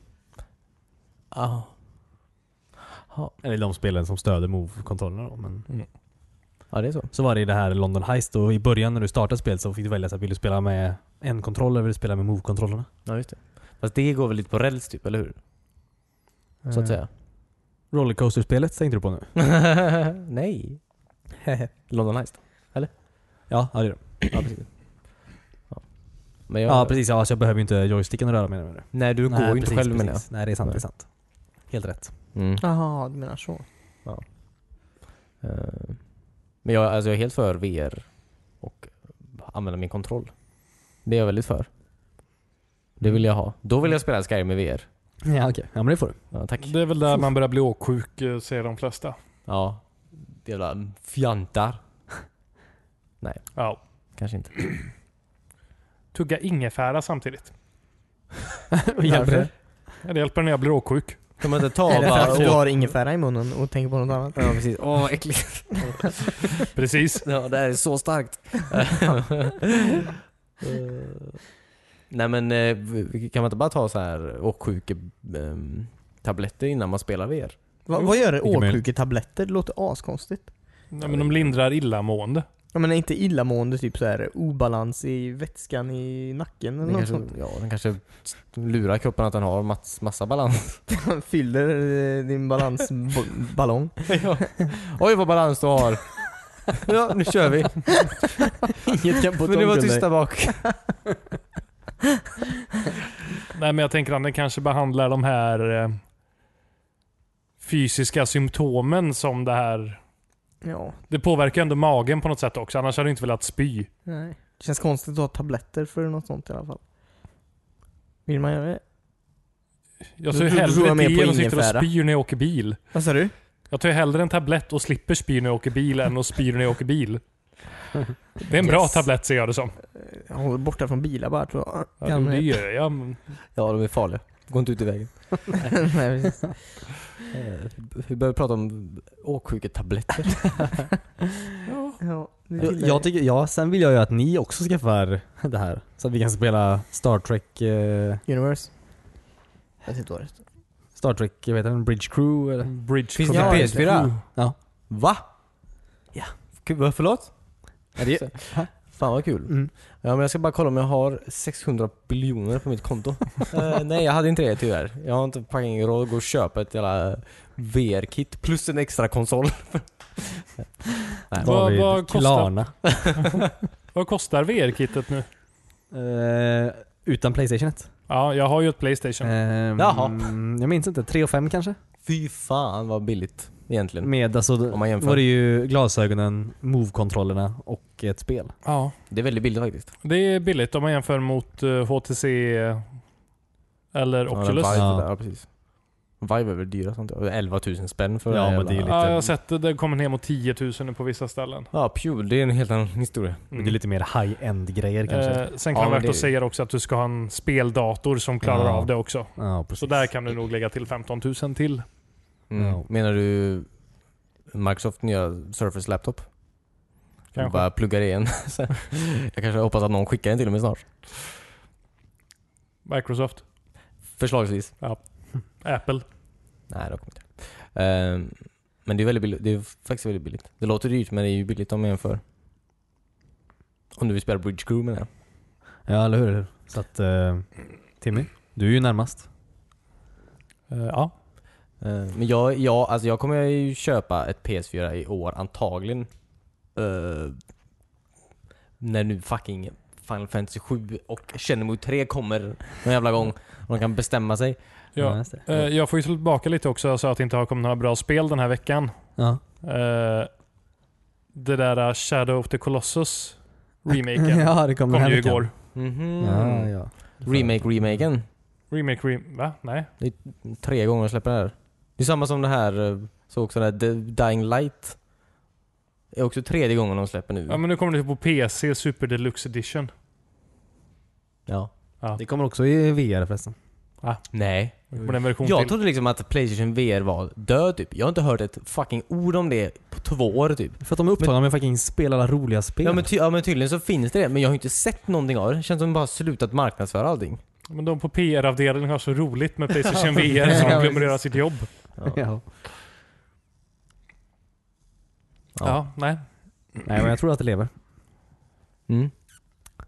Ja. Eller de spelen som stöder Move-kontrollerna då. Men... ja, det är så. Så var det i det här London Heist och i början när du startade spelet så fick du välja så här, vill du spela med en kontroll eller vill du spela med Move-kontrollerna? Ja, just det. Fast det går väl lite på räls typ, eller hur? Så att säga. Rollercoaster-spelet tänkte du på nu? Nej. London Heist. Ja, ja det är det. Ja, precis. Ja. Men jag, Ja precis, ja, alltså jag behöver ju inte joysticken att röra mig med nu. Nej, du går ju inte själv menar jag. Nej det är sant, Nej. det är sant. Helt rätt. Mm. Jaha, du menar så. Eh, Men jag, alltså jag är helt för VR och använda min kontroll. Det är jag väldigt för. Det vill jag ha. Då vill jag spela Skyrim med VR. Ja okej, ja men det får du. Ja, tack. Det är väl där man börjar bli åksjuk, eh, säger de flesta. Ja. Jävla fjantar. Ja. Kanske inte. Tugga ingefära samtidigt. Och hjälper det. Ja, Det hjälper när jag blir åksjuk. Kan man inte ta Är det för att du bara... har ingefära i munnen och tänker på något annat? Ja, precis. Åh, vad äckligt. Precis. Ja, det här är så starkt. Eh, Nej men eh, v- kan man inte bara ta så här åksjuke ehm, tabletter innan man spelar VR? Va, vad gör det? Vilken möjlighet. Åksjuketabletter? Det låter askonstigt. Nej, men de lindrar illamående. Ja men är inte illamående typ så här obalans i vätskan i nacken eller Den något kanske, sånt? ja, den kanske lurar kroppen att den har mats, massa balans. Fyller eh, din balansballong. ja. Oj vad balans du har! ja, nu kör vi. Inget kan Men det var tysta bak. Nej, men jag tänker att den kanske behandlar de här eh, fysiska symptomen som det här. ja, Det påverkar ju ändå magen på något sätt också. Annars hade du inte velat spy. nej. Det känns konstigt att ha tabletter för något sånt i alla fall. Vill man göra det? Jag Du- tar ju du- du tror hellre jag mer på det än att sitta och ingefära. spyr när jag åker bil. Vad sa du? Jag tar ju hellre en tablett och slipper spy när jag åker bil än att spy när jag åker bil. Det är en bra Yes. tablett ser jag det som. Jag håller borta från bilar bara tror jag. Ja, jo, det gör jag. men- Ja, de är farliga. Gå inte ut i vägen. Nej, precis. Eh, Vi behöver prata om åksjuketabletter. ja, det Jag, gillar jag tycker, ja, sen vill jag ju att ni också skaffar det här. Så att vi kan spela Star Trek, eh, Universe. Jag vet inte vad det heter. Star Trek, jag vet inte, Bridge Crew eller? Bridge Finns det Command. PS4? Ja. Va? Ja. Gud, Förlåt? Ja, det, Fan vad kul. Mm. Ja, men jag ska bara kolla om jag har 600 biljoner på mitt konto. Eh, nej, jag hade inte det tyvärr. Jag har inte fucking råd att gå och köpa ett jävla VR-kit plus en extra konsol. Vad- David vad kostar- Klarna. Vad kostar VR-kittet nu? Eh, utan Playstation 1. Ja, jag har ju ett Playstation. Eh. Ehm, Jaha. Jag minns inte, 3 5 kanske? Fy fan vad billigt egentligen. Med alltså, Om man jämför. var det ju glasögonen, move-kontrollerna och ett spel. Ja. Det är väldigt billigt faktiskt. Det är billigt om man jämför mot eh, HTC eh, eller Oculus. Ja, Ja, Vive, Ja. Där, ja, precis. Vive är väl dyra sånt. 11 000 spänn för Ja, det här men det är jävla- lite- Mm. jag har sett det. Det kommer ner mot 10 000 nu på vissa ställen. Ja, Pew, det är en helt annan historia. Det är lite mer high-end grejer kanske. Ja, Eh, sen kan det men vara värt det- att säga också att du ska ha en speldator som klarar Ja. av det också. ja, precis. Så där kan du nog lägga till 15 000 till. Mm. Ja. Menar du Microsoft nya Surface Laptop? Kanske. Bara pluggar det igen. Så jag kanske hoppas att någon skickar den till mig snart. Microsoft, Förslagsvis. Apple. Nej, det kommer inte. Ehm, men det är väldigt billigt. Det är faktiskt väldigt billigt. Det låter dyrt men det är ju billigt om man jämför. Om du vill spela Bridge Crew menar jag. Ja, eller hur? Eller hur? Så att, eh, Timmy, du är ju närmast. Eh, ja. Ehm, men jag, jag, alltså jag kommer ju köpa ett PS4 i år antagligen. Ehm, när nu fucking Final Fantasy 7 och Shenmue 3 kommer någon jävla gång. Och de kan bestämma sig. Ja. just det. Eh, jag får ju slå tillbaka lite också. Jag sa att det inte har kommit några bra spel den här veckan. ja. Eh, det där eh, Shadow of the Colossus. Remaken. ja, det kom, Kom den här ju veckan. igår. Mhm. Ja, ja. Remake remaken. Remake, rem... Va? Nej? Tre gånger släpper det här. Det är samma som det här, eh, så också det här The Dying Light. Det är också tredje gången de släpper nu. Ja men nu kommer det på PC, Super Deluxe Edition. Ja. Det kommer också i VR förresten. Nej. Det kommer en version Jag till. trodde liksom att Playstation VR var död typ. Jag har inte hört ett fucking ord om det på två år typ. För att de är upptagna med att fucking spela alla roliga spel. Ja men, ty- ja men tydligen så finns det det, men jag har ju inte sett någonting av det. Det känns som de bara har slutat marknadsföra allting. Men de på PR-avdelningen har så roligt med Playstation VR så de glömmer göra sitt jobb. Ja. Ja. Ja. Ja, nej. Nej men jag tror att det lever. Mm.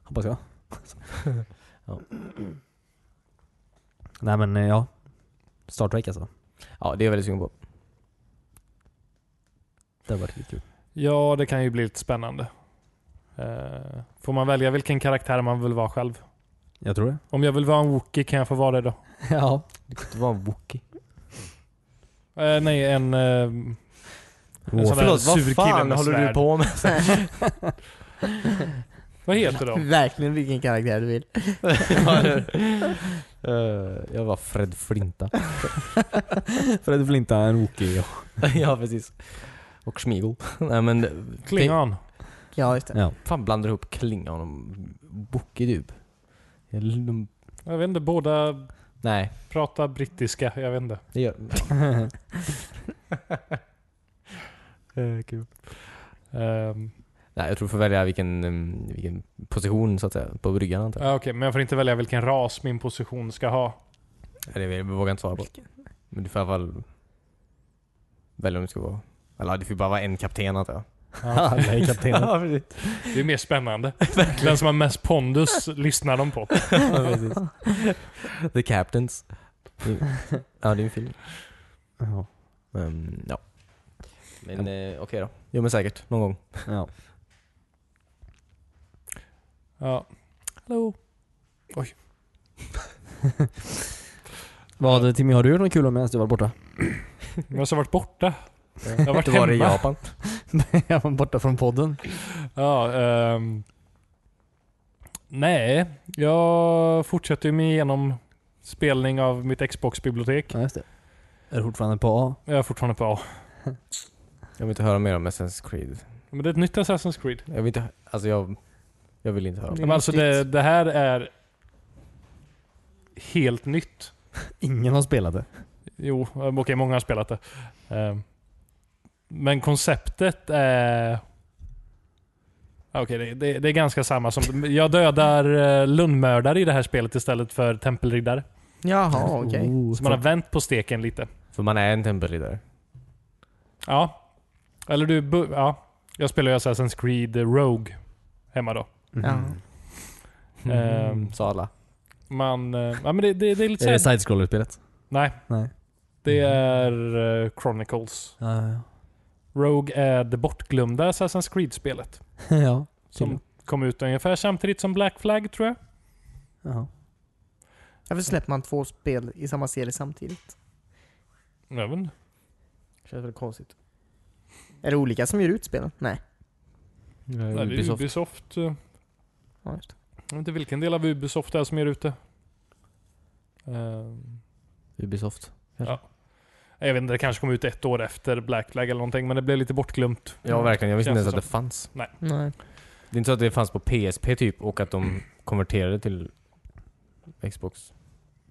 Hoppas jag. Ja. Nej men eh, ja. Star Trek alltså. ja, det är jag väldigt sugen på. Det har varit riktigt kul. Ja, det kan ju bli lite spännande. Eh, får man välja vilken karaktär man vill vara själv? Jag tror det. Om jag vill vara en Wookie kan jag få vara det då? ja. Det var en wookie. Eh, nej, en... eh, En sån där Förlåt, sur vad kille fan med håller du svärd. på med? vad heter de? Verkligen vilken karaktär du vill. Eh, jag var Fred Flinta. För att du vill inte ha en Wookie. Ja. ja, precis. Och Smeagol. Nej men... Klingon. Ja, just det. ja. Fan blandar ihop Klingon och Wookie typ. Eller de- Jag vet inte, båda Nej, pratar brittiska. Jag vet inte. det gör Eh, Ehm, Nej, jag tror du får välja vilken, eh, vilken position så att säga, på bryggan antar jag. ja, Okej, men jag får inte välja vilken ras min position ska ha. Eller jag vågar inte svara på. Men du får i alla fall välja om du ska vara... Eller du får bara vara en kapten antar jag. Alla är kaptener. Ja, precis. Det är mer spännande. Den som har mest pondus lyssnar de på. The Captains. Ja, det är en film. Ja. Ehm, ja. Men eh, okej då. Jo men säkert, någon gång. ja. Ja. Hallå. Vad Timmy, har du gjort något kul om medan du var borta? Jag har så varit borta. Jag har varit Du var i hemma. Japan. jag var borta från podden. Ja, ehm. nej, jag fortsätter ju med igenom spelning av mitt Xbox-bibliotek. Ja just det. Är du fortfarande på A? Jag är fortfarande på A. Jag vill inte höra mer om Assassin's Creed. Men det är ett nytt Assassin's Creed. Jag vill inte, alltså jag, jag vill inte höra om Det det. är Men alltså det, nyttigt. det här är helt nytt. Ingen har spelat det. Jo, eh, okej, många har spelat det. Eh, Men konceptet är... Ja, Okej, det, det, det är ganska samma som... Jag dödar eh, lönnmördare i det här spelet istället för tempelriddare. Jaha, okej. Oh, Så man har vänt på steken lite. För man är en tempelriddare. Ja. Eller du... bu- Ja. Jag spelar ju Assassin's Creed Rogue hemma då. Ehm, Ja. Mm. Sa alla. Man... eh, Ja, men det, det, det är lite Är det såhär... side-scroller-spelet? Nej. Nej. Det är eh, Chronicles. Ja, Rogue är det bortglömda Assassin's Creed-spelet. ja. ja. Som kom ut ungefär samtidigt som Black Flag tror jag. Jaha. Varför släpper man två spel i samma serie samtidigt? Jag vet inte. Eh, Känns väldigt konstigt. Är det olika som ger ut spelen? Nej. Nej, det är Ubisoft. Ubisoft. eh, Ja, just det. Jag vet inte vilken del av Ubisoft det är som är ute. Ehm, Ubisoft. jag vet inte, det kanske kom ut ett år efter Black Flag eller någonting, men det blev lite bortglömt. Ja verkligen, jag visste inte Känns ens att det det fanns. Nej. Det är inte så att det fanns på PSP typ och att de konverterade till Xbox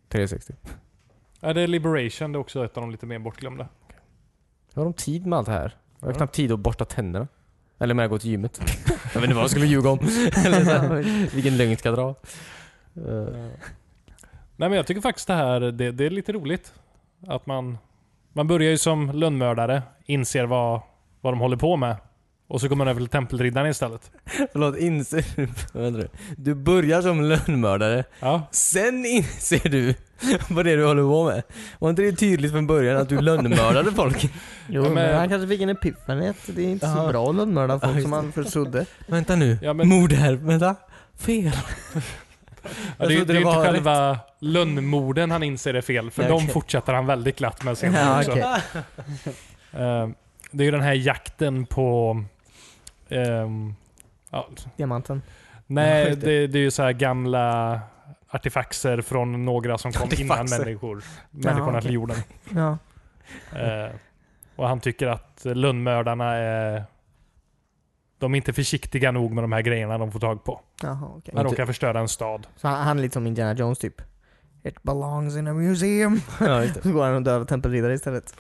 360. Ja, det är Liberation, det är också ett av de lite mer bortglömda. Har de tid med allt det här? Jag har Ja. knappt tid att borsta tänderna. Eller med att gå till gymmet. jag vet inte vad jag skulle ljuga om. Eller så här, vilken lögn ska jag dra? Eh, Ehm, Nej men jag tycker faktiskt det här, det, det är lite roligt. Att man, man börjar ju som lönnmördare, inser vad, vad de håller på med. Och så går man över till tempelriddaren istället. Förlåt, inser vad heter det? du? börjar som lönnmördare, Ja, sen inser du vad det är du håller på med. Var inte det tydligt från början att du lönnmördade folk? Jo, Ja, men... men- han kanske fick en epiphany att det är inte så Ja. bra att lönnmörda Ja, folk just som han först trodde. Vänta nu, Ja, men- mord här, vänta. Fel. Ja, det, är ju- trodde det är ju var inte rätt. själva lönnmorden han inser är fel, för Nej, de okej. fortsätter han väldigt glatt med senare Ja, också. okej. Eh, det är ju den här jakten på... ehm, Ja. diamanten. Nej, Just det. det, det är ju så här gamla artefakter från några som kom innan Artefakter. människor, människorna till okej. jorden. Ja. Eh, och han tycker att lönnmördarna är... De är inte försiktiga nog med de här grejerna de får tag på. Jaha, okej. Man Inte- råkar förstöra en stad. Så han, han är lite som Indiana Jones typ. It belongs in a museum. Ja, just det. Så går han och dödar tempelriddare istället.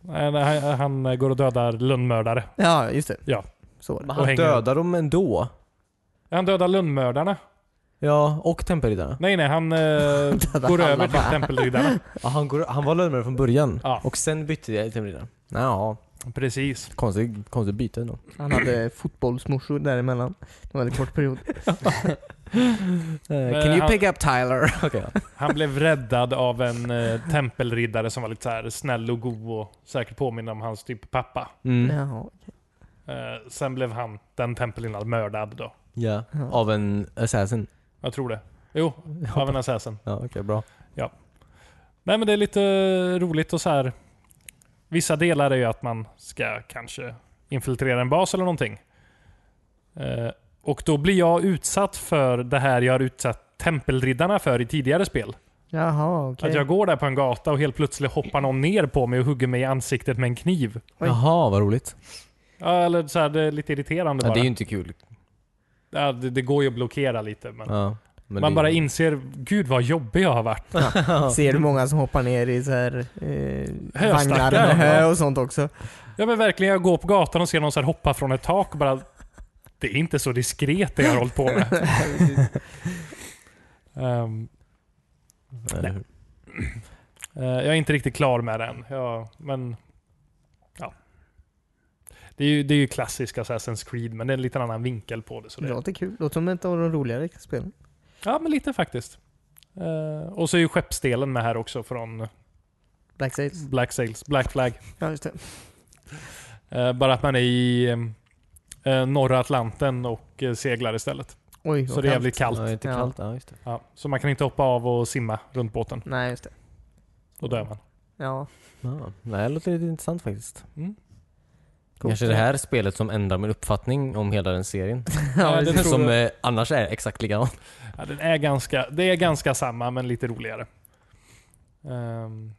Nej, nej, Han, han går och dödar lönnmördare. Ja, just det. Ja. Så var det. Och Han hänger dödar dem ändå. Han dödar lönnmördarna. Ja, och tempelriddarna. Nej, nej, han eh, går alla över till bara. tempelriddarna. Ja, han, går, han var lönnmördare från början. Ja. Och sen bytte jag till tempelriddare. Ja, Eh, Precis. konstigt, konstigt byte ändå. Han hade fotbollsmorsor däremellan. Det var en väldigt kort period. Uh, can you han- pick up Tyler? Okej. ja. Han blev räddad av en eh, tempelriddare som var lite så här snäll och god och säkert påminner om hans typ pappa. Mm. Jaha. Eh, sen blev han, den tempelriddaren, mördad då. Ja. Ja. Av en assassin. Jag tror det. Jo, av en assassin. Ja, okej, bra. Nej men det är lite roligt och så här. Vissa delar är ju att man ska kanske infiltrera en bas eller någonting. Eh, och då blir jag utsatt för det här jag har utsatt tempelriddarna för i tidigare spel. Jaha, okej. Att jag går där på en gata och helt plötsligt hoppar någon ner på mig och hugger mig i ansiktet med en kniv. Oj. Jaha, vad roligt. Ja, eller så här, det är lite irriterande Ja, bara. det är Ja, det, ju inte kul. det, går ju att blockera lite. Men Ja, men man det- bara inser, gud vad jobbig jag har varit. Ser du många som hoppar ner i så här, eh, Höstackar. vagnar med hö och sånt också? Ja men verkligen, jag går på gatan och ser någon så här hoppa från ett tak och bara... Det är inte så diskret det jag har hållit på med. Ehm, Eller hur? eh, jag är inte riktigt klar med den. Ja, men... Ja. Det är ju, det är ju klassisk Assassin's Creed, men det är en lite annan vinkel på det. Så Det det låter kul. Låter som ett av de roligare spelen. ja, men lite faktiskt. Eh, och så är ju skeppsdelen med här också från Black Sails. Black Sails, Black Flag. Mm. Ja, just det. Eh, bara att man är i eh, norra Atlanten och eh, seglar istället. Oj, Så vad det är kallt. jävligt kallt. Ja, det är inte Ja. kallt. Ja, just det. Ja, så man kan inte hoppa av och simma runt båten. Nej, just det. Då dör man. Ja. Ja, det här låter lite intressant faktiskt. Mm. coolt. Kanske det här spelet som ändrar min uppfattning om hela den serien. Ja, ja, det det tror som jag. eh, annars är exakt likadan. Ja, den är ganska, det är ganska samma, men lite roligare. Ehm.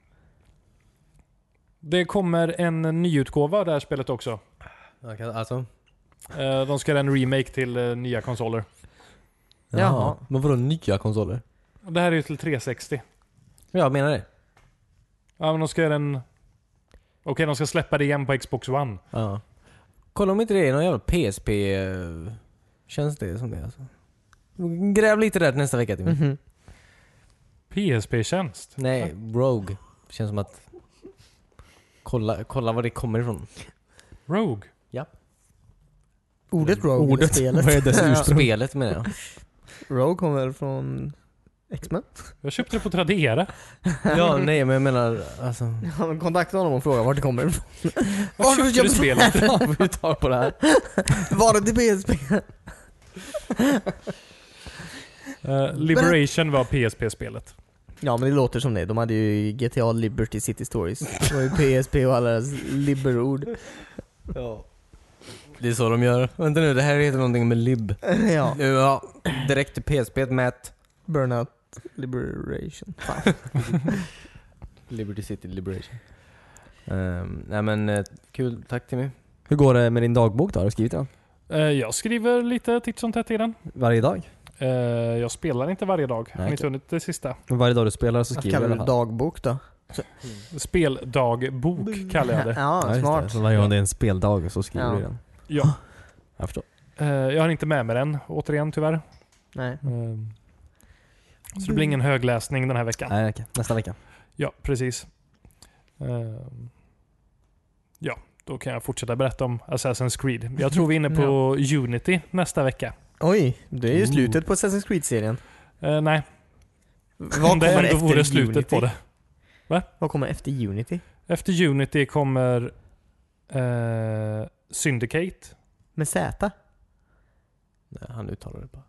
det kommer en nyutgåva av det här spelet också. Alltså, Eh, de ska göra en remake till eh, nya konsoler. jaha. Jaha. Men vadå nya konsoler? Och Det här är ju till 360. Ja, jag menar det. Ja, men de ska göra en... Okej, de ska släppa det igen på Xbox One. Ja. Kolla om inte det är någon jävla PSP... eh, Känns det som det alltså? Gräv lite där till nästa vecka Timmy. Mhm. PSP-tjänst. Mm. Nej, Rogue. Känns som att... Kolla, kolla var det kommer ifrån. Rogue. Ordet Rogue Ordet. spelet. Vad är dess Ja. ursprung? Spelet menar jag. Rogue kommer väl från X-Men? Jag köpte det på Tradera. Ja, nej men jag menar alltså... Ja, men Kontakta honom och fråga vart det kommer ifrån. Jag Varför köpte det köpte spelet. Får vi ta på det här? Var det till PSP? Eh, Liberation var PSP-spelet. Ja men det låter som det. De hade ju GTA Liberty City Stories. Det var ju PSP och alla deras liberord. Ja. Det är så de gör. Vänta nu, det här heter någonting med lib. ja. Ja, direkt till PSP, Matt. Burnout Liberation. Fan. Liberty City Liberation. Um, nej men eh, kul, tack Timmy. Hur går det med din dagbok då? Har du skrivit den? Eh, jag skriver lite titt som tätt i den. Varje dag? Eh, jag spelar inte varje dag. Har Nej, inte hunnit det sista. Men Varje dag du spelar så Vad skriver kallar du du i alla det? fall. dagbok då? Mm. Speldagbok kallar jag det. Ja, just Det. smart. Så varje gång det är en speldag så skriver Ja. du i den. Ja. Jag förstår. Eh, jag har inte med mig den, återigen tyvärr. Nej. Eh, så Mm. det blir ingen högläsning den här veckan. Nej, okej. Nästa vecka. Ja, precis. Eh, ja, då kan jag fortsätta berätta om Assassin's Creed. Jag tror vi är inne på Unity nästa vecka. Oj, det är ju slutet på Assassin's Creed-serien. Eh, nej, Vad om det kommer ändå efter vore slutet Unity? på det. Vad kommer efter Unity? Efter Unity kommer eh, Syndicate. Med Z? Nej, han uttalar det bara.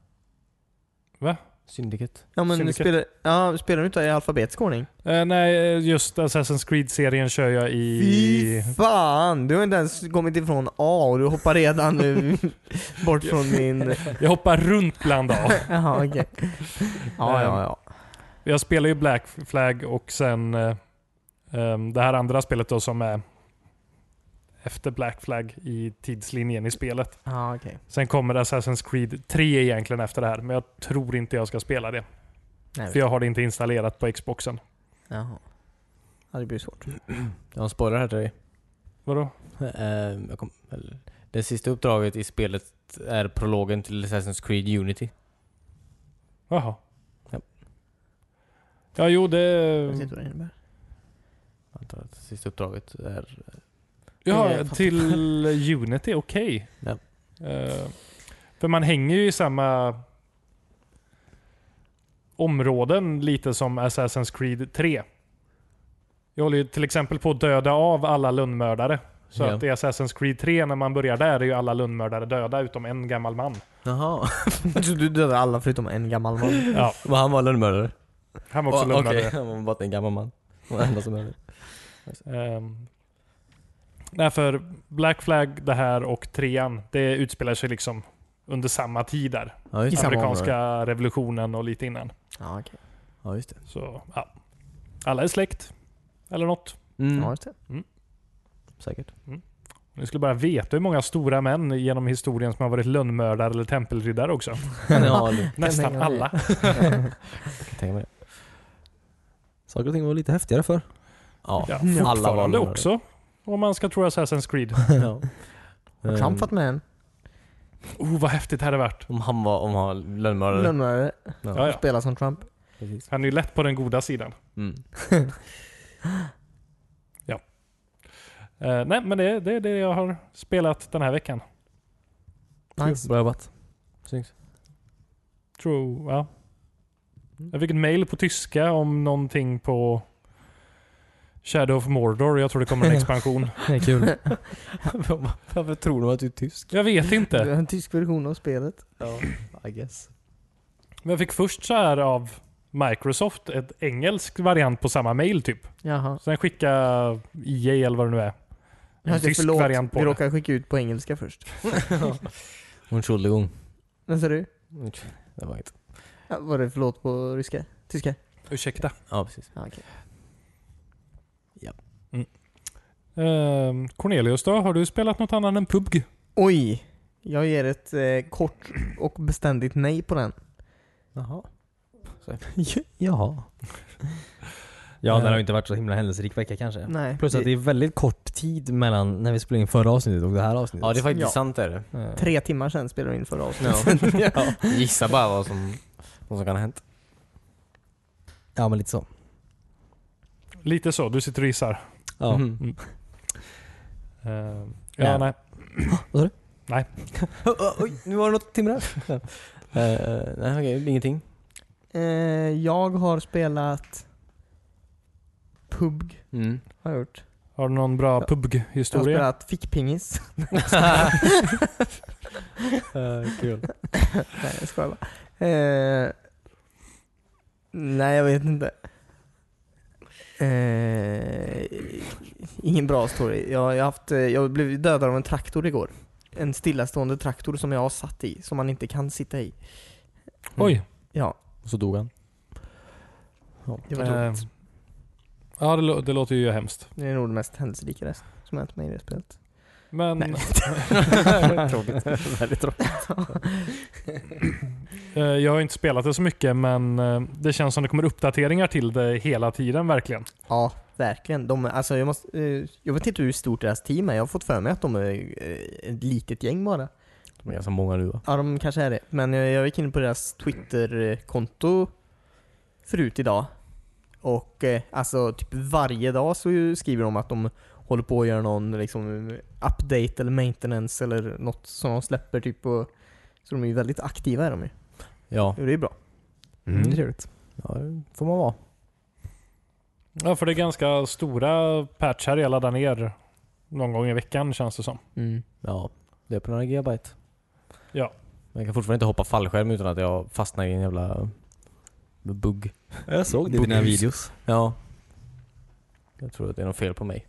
Va? Syndicate. Ja men Syndicate. spelar, ja, spelar du inte i alfabetisk ordning? Eh, nej, just Assassin's Creed-serien kör jag i... Fy fan! Du har inte ens kommit ifrån A och du hoppar redan nu bort från min... Jag hoppar runt bland A. Jaha okej. Ja ja ja. Jag spelar ju Black Flag och sen eh, ehm, det här andra spelet då som är efter Black Flag i tidslinjen i spelet. Ja okej. Sen kommer Assassin's Creed 3 egentligen efter det här, men jag tror inte jag ska spela det. Nej, För jag har det inte installerat på Xboxen. Jaha. Ja det blir svårt. Jag har en spoiler här till dig. Vadå? Eh, jag kom, eller, det sista uppdraget i spelet är prologen till Assassin's Creed Unity. Jaha. Ja. Ja, jo det... Jag vet inte vad det innebär. Jag antar att sista uppdraget är... Jag Ja, fattar. till Unity, okej. eh, Ja. Eh, för man hänger ju i samma områden lite som Assassin's Creed 3. Jag håller ju till exempel på att döda av alla lönnmördare. Så Ja. att i Assassin's Creed 3, när man börjar där, är ju alla lönnmördare döda utom en gammal man. Jaha. Jag trodde du dödade alla förutom en gammal man. Ja, Var han var lönnmördare? han var också Åh, lönnmördare. Okej, han var bara en gammal man. Han var den enda som är det. Um, därför Black Flag, det här och trean, det utspelar sig liksom under samma tid där. Ja, just I det. samma Amerikanska revolutionen och lite innan. Ja okej. Ja, just det. Så ja. Alla är släkt. Eller något. Mm. Ja just det. Säkert. Ni skulle bara veta hur många stora män genom historien som har varit lönnmördare eller tempelriddare också. ja, det Nästan tänka mig. alla. kan jag tänka mig det. Saker och ting var lite häftigare för. Ja, Ja, alla var fortfarande lönnmördare. också. Om man ska tro Assassin's Creed. ja. Mm. Har Trump varit med än? Oh, vad häftigt det hade varit. Om han var, om han var lönnmördare. Lönnmördare. Ja, ja. Spelar som Trump. Precis. Han är ju lätt på den goda sidan. Mm. Eh, nej, men det, det är det jag har spelat den här veckan. Nice. Bra jobbat. Snyggt. Tror, ja. Mm. Jag fick ett mail på tyska om någonting på Shadow of Mordor. Jag tror det kommer en expansion. Det är kul. Varför tror de att du är tysk? Jag vet Du inte. har en tysk version av spelet. Ja, I guess. Men jag fick först så här av Microsoft ett engelsk variant på samma mail typ. Jaha. Sen skicka EA eller vad det nu är. En Just det, tysk Alltså, förlåt. variant på Vi det. råkade skicka ut på engelska först. Entschuldigung. Vad sa du? Det var inget. Ja, var det förlåt på ryska? Tyska? Ursäkta. Ja, precis. Ja, okej. Ehm, Cornelius då? Har du spelat något annat än PubG? Oj! Jag ger ett eh, kort och beständigt nej på den. Jaha. Jaha. Ja, det har ju inte varit så himla händelserik vecka kanske. Nej. Plus att det är väldigt kort tid mellan när vi spelade in förra avsnittet och det här avsnittet. Ja, det är faktiskt Ja. sant är det. Eh, Tre timmar sen spelade vi in förra avsnittet. Ja. Gissa bara vad som, vad som kan ha hänt. ja, men lite så. Lite så. Du sitter och gissar. Ja. Mhm. Ehm, Nej. ja, nej. Oj, nu var det något timmer här. Eh, nej, okej, ingenting. Eh, jag har spelat PUBG. Mm. Har jag gjort. Har du någon bra Jag har PubG-historia? spelat fickpingis. Kul. nej jag skojar bara. Eh, nej jag vet inte. Eh, ingen bra story. Jag, jag, har haft, eh, jag blev dödad av en traktor igår. En stillastående traktor som jag har satt i, som man inte kan sitta i. Oj. Ja, Och så dog han. det var ehm, tråkigt. ja, det, lå- det låter ju hemskt. Det är nog det mest händelserika rest som hänt mig i det spelet. Men Nej. Tråkigt. Väldigt tråkigt. eh, jag har inte spelat det så mycket, men eh, det känns som det kommer uppdateringar till det hela tiden verkligen. Ja, verkligen. De, alltså, jag, måste, eh, jag vet inte hur stort deras team är. Jag har fått för mig att de är eh, ett litet gäng bara. De är ganska många nu va? Ja, de kanske är det. Men jag, jag gick in på deras Twitter-konto förut idag. Och eh, alltså typ varje dag så skriver de att de håller på att göra någon liksom, update eller maintenance eller något som de släpper typ. Och, så de är ju väldigt aktiva är de ju. Ja. Och det är bra. Mm. Det är trevligt. ja, det får man vara. Ja, för det är ganska stora patchar jag laddar ner någon gång i veckan känns det som. Mm. Ja, det är på några gigabyte. Ja. Men jag kan fortfarande inte hoppa fallskärm utan att jag fastnar i en jävla Med bugg. Jag såg det i dina Bookies. videos. Ja. Jag tror att det är något fel på mig.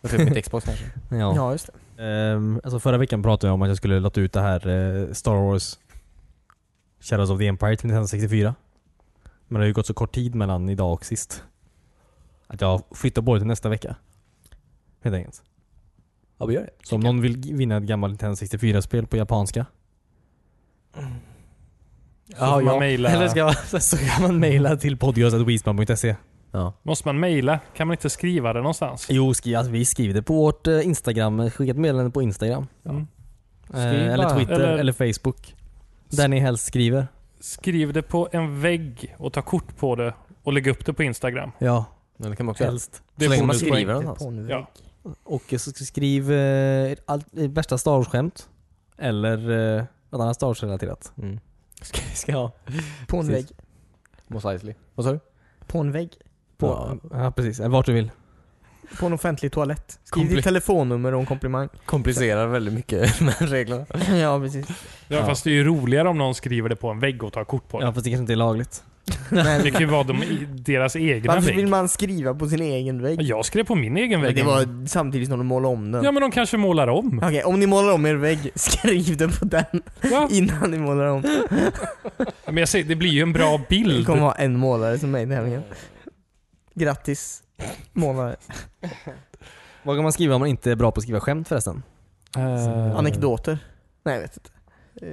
Det är Fel på mitt Xbox kanske. Ja. Ja, just det. Ehm, alltså förra veckan pratade jag om att jag skulle låta ut det här eh, Star Wars Shadows of the Empire till Nintendo 64. Men det har ju gått så kort tid mellan idag och sist. Att jag flyttar på det till nästa vecka. Helt enkelt. Ja, vi gör det. Så om någon vill g- vinna ett gammalt Nintendo 64-spel på japanska. får man mejla- Eller ska, man- så kan man mejla till podcast.wisman.se. Måste man mejla? Kan man inte skriva det Typ. någonstans? Jo, skri, alltså, vi skriver det på vårt eh, Instagram. Skicka ett meddelande på Instagram. Mm. Eh, Skriv eller bara. Twitter eller, Eller- Facebook. Där ni helst skriver. Skriv det på en vägg och ta kort på det och lägg upp det på Instagram. Ja, Men Typ. det kan man också göra. helst. Det Så länge man bonuspoäng. skriver den På alltså. en Ja. Och så skriv eh, ert allt- ert värsta Star Wars-skämt. Eller eh, något annat Star Wars-relaterat. Mm. Ska, ska jag ha? På en vägg. Precis. Mos Eisley. Vad sa du? På en vägg. På, ja. Ja. precis. Eller vart du vill. På en offentlig toalett. Skriv Kompli- ditt telefonnummer och en komplimang. Komplicerar väldigt mycket med reglerna. ja, precis. Ja, fast det är ju roligare om någon skriver det på en vägg och tar kort på det. Ja, fast det kanske inte är lagligt. Men Det kan ju vara de, i- deras egna varför vill vägg. man skriva på sin egen vägg? Jag skrev på min egen Men vägg. det var samtidigt som de målade om den. Ja, men de kanske målar om. Okej, om ni målar om er vägg, skriv den på den Ja. innan ni målar om. Men jag säger, det blir ju en bra Det bild. kommer vara en målare som mig nämligen. Grattis målare. Vad kan man skriva om man inte är bra på att skriva skämt förresten? Eh, Anekdoter? Nej jag vet inte.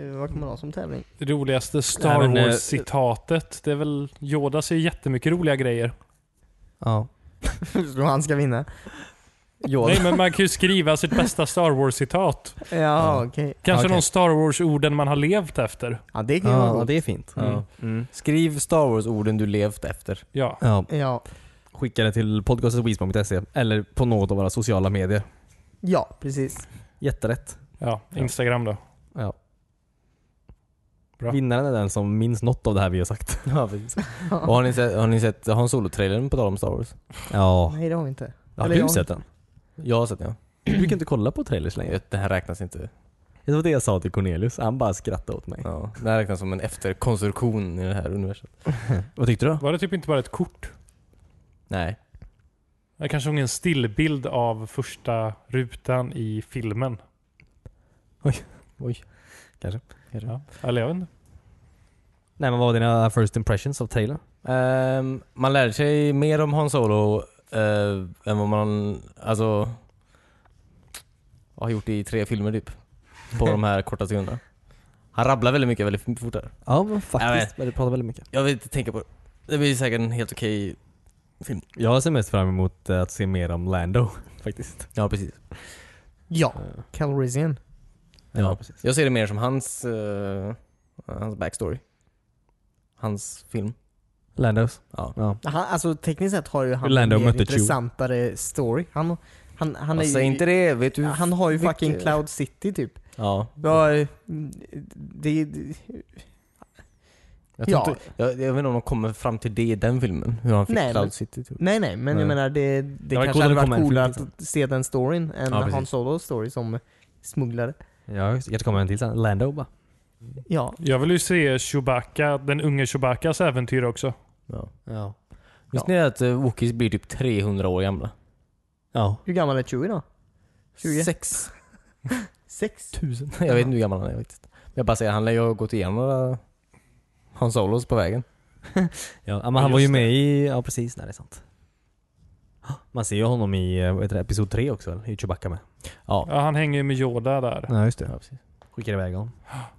Eh, Vad kan man ha som tävling? det roligaste Nej, Star men, eh, Wars-citatet. Det är väl, Yoda säger jättemycket roliga grejer. Ja. Så han ska vinna? Yoda. Nej, men man kan ju skriva sitt bästa Star Wars-citat. Ja, okej. Kanske Okej. de Star Wars-orden man har levt efter. Ja det kan ju vara Ja, gott. det är fint. Ja. Skriv Star Wars-orden du levt efter. Ja. Ja. Ja. Skicka det till podcastetwisman.se eller på något av våra sociala medier. ja, precis. Jätterätt. ja, Instagram då. Ja. Bra. Vinnaren är den som minns något av det här vi har sagt. Ja, precis. Och har ni sett, har ni sett Han Solo-trailern på tal om Star Wars? Ja. Nej det har vi inte. Har Eller du jag- sett den? Jag har sett den ja. Du brukar inte kolla på trailers längre. Jag vet, Det här räknas inte. Det var det jag sa till Cornelius. Han bara skrattade åt mig. Ja. Det här räknas som en efterkonstruktion i det här universumet. Vad tyckte du då? Var det typ inte bara ett kort? Nej. Jag kanske såg en stillbild av första rutan i filmen. Oj. Kanske. Kanske. Ja. Eller jag vet inte. Nej men vad var dina first impressions av trailern? Ehm, man lärde sig mer om Han Solo eh, än vad man alltså, har gjort i tre filmer typ. På de här korta sekunderna. Han rabblar väldigt mycket väldigt fort där. Ja men faktiskt. men du pratar väldigt mycket. Jag vill inte tänka på det. Det blir säkert en helt okej Jag ser mest fram emot eh, att se mer om Lando faktiskt. Eh, Ja precis. Ja, Calrissian. Ja. precis. Jag ser det mer som hans, eh, hans backstory. Hans film. Landos. Ja. Ja. Han, alltså tekniskt sett har ju han Lando en mer mötte Chewie. intressantare story. Han, han, han, är Alltså, ju, inte det, vet du? han har ju fucking Mycket- Cloud City typ. Ja. Ja, eh, det, det, Jag, tror Ja. Inte, jag, jag vet inte om de kommer fram till det i den filmen, hur han fick Nej, Cloud men- City. Typ. nej nej, men jag Nej. menar det, det var kanske coolt hade om det kom varit en coolare film, att se den storyn än Ja, precis. Han Solos story som smugglare. Ja just det. Kanske kommer en till sen. Lando bara. Ja, Jag vill ju se Chewbacca, den unge Chewbaccas äventyr också. Ja. Ja. Visste ni att uh, Wookies blir typ 300 år gamla? Ja. hur gammal är Chewie då? 20? Sex Sex? tusen. Jag vet inte hur gammal han är faktiskt. Men jag bara säger, han lär ju ha gått igenom några Han Solos på vägen. Ja, men han var ju just med i... Ja precis, nej det är sant. Man ser ju honom i eh, vad heter det, episod 3 också, eller? i Chewbacca med. Ja, han hänger ju med Yoda där. Ja just Ja, precis. Skickar iväg honom.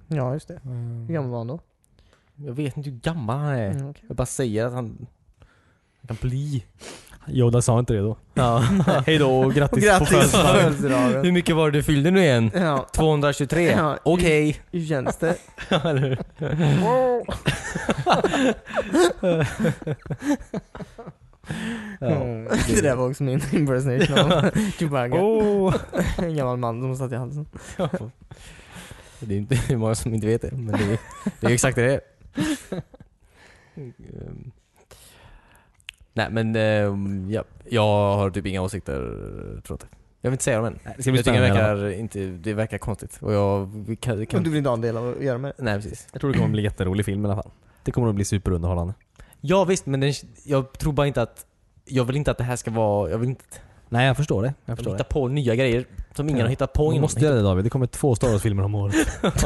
Ja, just det. Hur gammal var han då? Jag vet inte hur gammal han är. Mm, okej. Jag bara säger att han... Han kan bli... Yoda sa inte det då. Ja. Hej då och Och grattis, grattis på födelsedagen. hur födelsedagen! mycket var det du fyllde nu igen? Ja, 223? Ja. Okej. hur känns det? Mm. Det Oh. där var också min impersonation av Eh, Chewbacca. oh, Åh. En gammal man som satt i halsen. Det är inte det är många som inte vet det, men det är, det är exakt det det är. Ehm. Nej men ehm, ja, jag har typ inga åsikter tror jag inte. Jag vill inte säga dem än. Det ska bli Jag tycker det spännande. verkar, inte, det verkar konstigt. Och jag vi kan, vi Och kan, du vill inte ha en del av att göra med det? Nej precis. Jag tror det kommer bli en jätterolig film i alla fall. Det kommer att bli superunderhållande. Ja visst, men den, jag tror bara inte att... Jag vill inte att det här ska vara... Jag vill inte Nej, jag förstår det. Jag jag förstår hitta det. på nya grejer som ingen Ja. har hittat på Du innan. måste göra det David. Det kommer två Star Wars-filmer om året.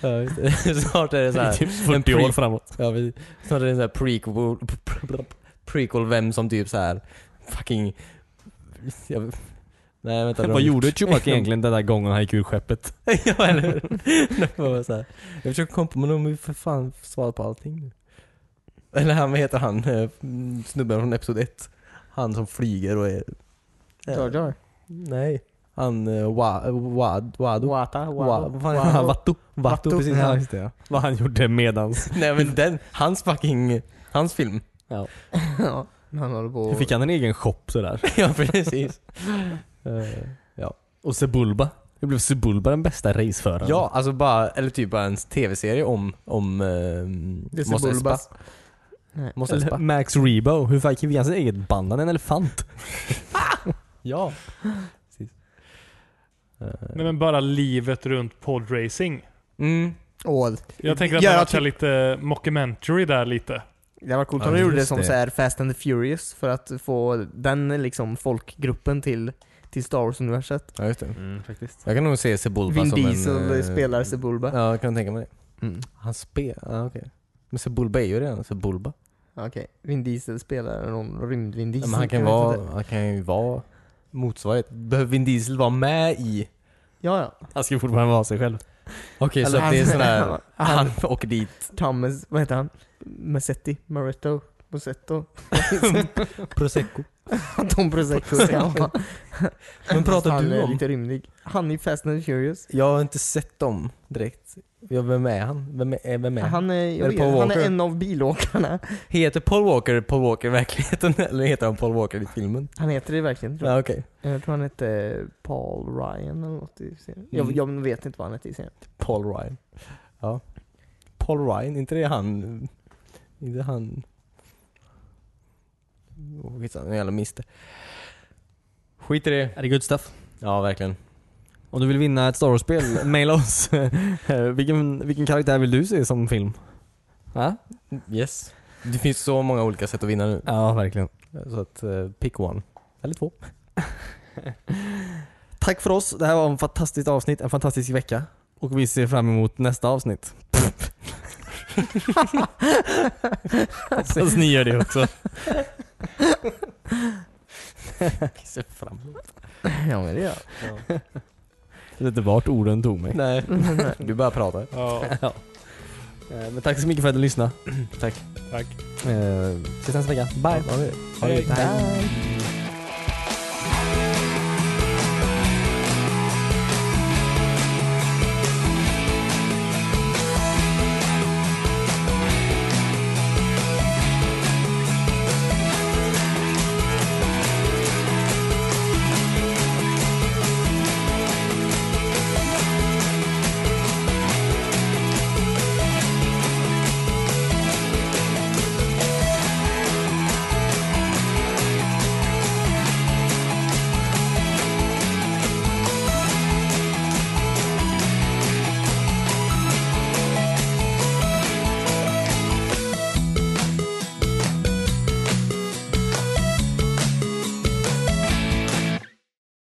Ja, just det. Snart är det så I här, typ 40 pre- år framåt. ja, vi, snart är det en sån här prequel, prequel vem som typ så här fucking... Jag, nej vänta. Vad gjorde Chewbacca Chewbacca egentligen den där gången han gick ur skeppet? ja eller hur? Det var bara så här. Jag försöker komma på men de har ju för fan svarat på allting nu. Eller han, vad heter han, eh, snubben från Episod 1? Han som flyger och är... Jar Jar. Nej. Han eh, Wa- Wad... Wado? Wata. Wa- Wado. vad fan heter han? Wado. Watto? Watto, precis. Ja, just det. Vad han gjorde medans. Nej men den, hans fucking... Hans film. Ja, Han håller på Hur fick han en egen shop sådär? ja precis. Eh, Och Sebulba. Hur blev Sebulba den bästa raceföraren? Ja, alltså bara, eller typ bara en tv-serie om, om um, Det är Mm. Mos Espa. Sebulbas. Nej. Mos Eller Espa. Max Rebo. Hur fick han sin eget band? Han är en elefant. Ja. Eh, Nej, men bara livet runt podracing. Mm. Ål. Jag tänker att Ja, man jag har kört ty- lite mockumentary där lite. Det var coolt Ja, om de gjorde just det som det. så här Fast and the Furious för att få den liksom folkgruppen till, till Star Wars-universet. Ja, just det. faktiskt. Jag kan nog se Sebulba Vin som en... Diesel eh, spelar Sebulba. Ja, jag kan tänka mig det. Mm. Han spelar, ja, okej. Men Sebulba är ju redan Sebulba. Okej, Vin Diesel spelar någon rymd-Vin Ja, Diesel. men han kan, jag vet vara, inte. han kan ju vara motsvarighet. Behöver Vin Diesel vara med i? Ja, ja. Han ska fortfarande vara sig själv. Okej, så Eller att det är han- sån här... Han han- åker dit. Thomas, vad heter han? Massetti? Moretto? Mosetto? Prosecco. Tom Prosecco ska han vara. Men pratar Han du är om? lite rymdig. Han är Fast and the Furious. Jag har inte sett dem direkt. Ja, vem är han? Vem är, vem är han? Han är, jag Eller vet, Paul han Walker. är en av bilåkarna. Heter Paul Walker Paul Walker i verkligheten eller heter han Paul Walker i filmen? Han heter det verkligen tror jag. Ja, okej. Jag tror han hette Paul Ryan eller något i serien. Jag, Mm. jag vet inte vad han hette i serien. Paul Ryan. Ja. Paul Ryan, inte det han... Inte han... Åh, Skitsamma, nu jävla mister. Skit i det. Är det good stuff? Ja, verkligen. Om du vill vinna ett Star Wars-spel, maila oss. Eh, vilken, vilken karaktär vill du se som film? Ja, Yes. Det finns så många olika sätt att vinna nu. ja verkligen. Så att, eh, pick one. Eller två. Tack för oss. Det här var en fantastiskt avsnitt, en fantastisk vecka. Och vi ser fram emot nästa avsnitt. Hoppas ni gör det också. Ser fram emot. Ja men det gör Jag vet inte vart orden tog mig. Nej. Du bara pratar. Ja, Ja. Eh, Men tack så mycket för att du lyssnade. Tack. tack. Eh, Ses nästa vecka. Bye! Ha det. Hej. Hej. jag.